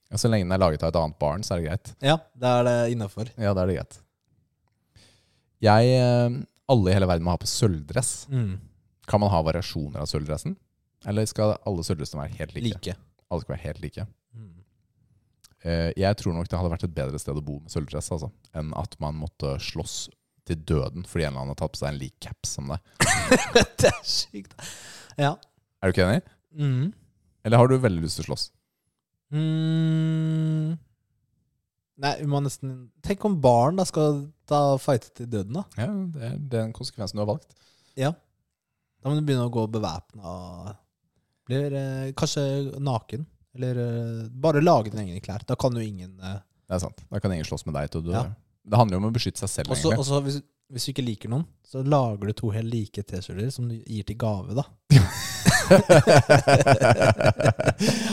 Ja, så lenge den er laget av et annet barn, så er det greit.
Ja, da er det innafor.
Ja, da er det greit. Jeg eh, Alle i hele verden må ha på sølvdress.
Mm.
Kan man ha variasjoner av sølvdressen? Eller skal alle sølvdressene være helt like?
Like.
Alle skal være helt like.
Mm.
Eh, jeg tror nok det hadde vært et bedre sted å bo med sølvdress altså, enn at man måtte slåss til døden fordi en eller annen har tatt på seg en lik caps som deg.
det er sykt. Ja.
Er du ikke enig?
Mm.
Eller har du veldig lyst til å slåss?
Mm. Nei, vi må nesten Tenk om barn da skal ta fighte til døden, da.
Ja, det er, det er den konsekvensen du har valgt.
Da må du begynne å gå bevæpna. Blir eh, kanskje naken. Eller eh, bare lage dine egne klær. Da kan jo ingen eh,
Det er sant. Da kan ingen slåss med deg til du
Ja.
Det handler jo om å beskytte seg selv,
Også,
egentlig.
også hvis, hvis du ikke liker noen, så lager du to helt like T-skjorter som du gir til gave, da.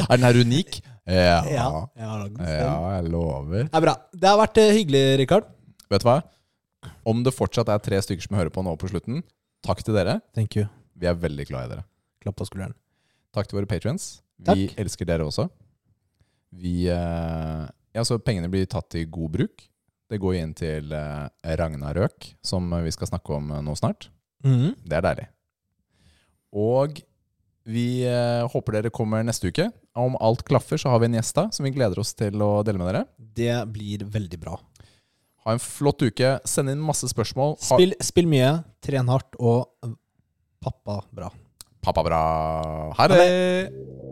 er den her unik? Ja.
Ja,
ja.
jeg har lagd den selv.
Jeg lover.
Det er bra. Det har vært eh, hyggelig, Rikard.
Vet du hva? Om det fortsatt er tre stykker som hører på nå på slutten, takk til dere.
Thank you.
Vi er veldig glad i dere.
Klapp på skulderen.
Takk til våre patrients. Vi
Takk.
elsker dere også. Vi eh, Ja, så pengene blir tatt i god bruk. Det går inn til eh, Ragnarøk, som vi skal snakke om eh, nå snart.
Mhm.
Det er deilig. Og vi eh, håper dere kommer neste uke. Om alt klaffer, så har vi en gjest da, som vi gleder oss til å dele med dere.
Det blir veldig bra.
Ha en flott uke. Send inn masse spørsmål. Ha-
Spill, spill mye, tren hardt og pappa bra.
Pappa bra. Ha det!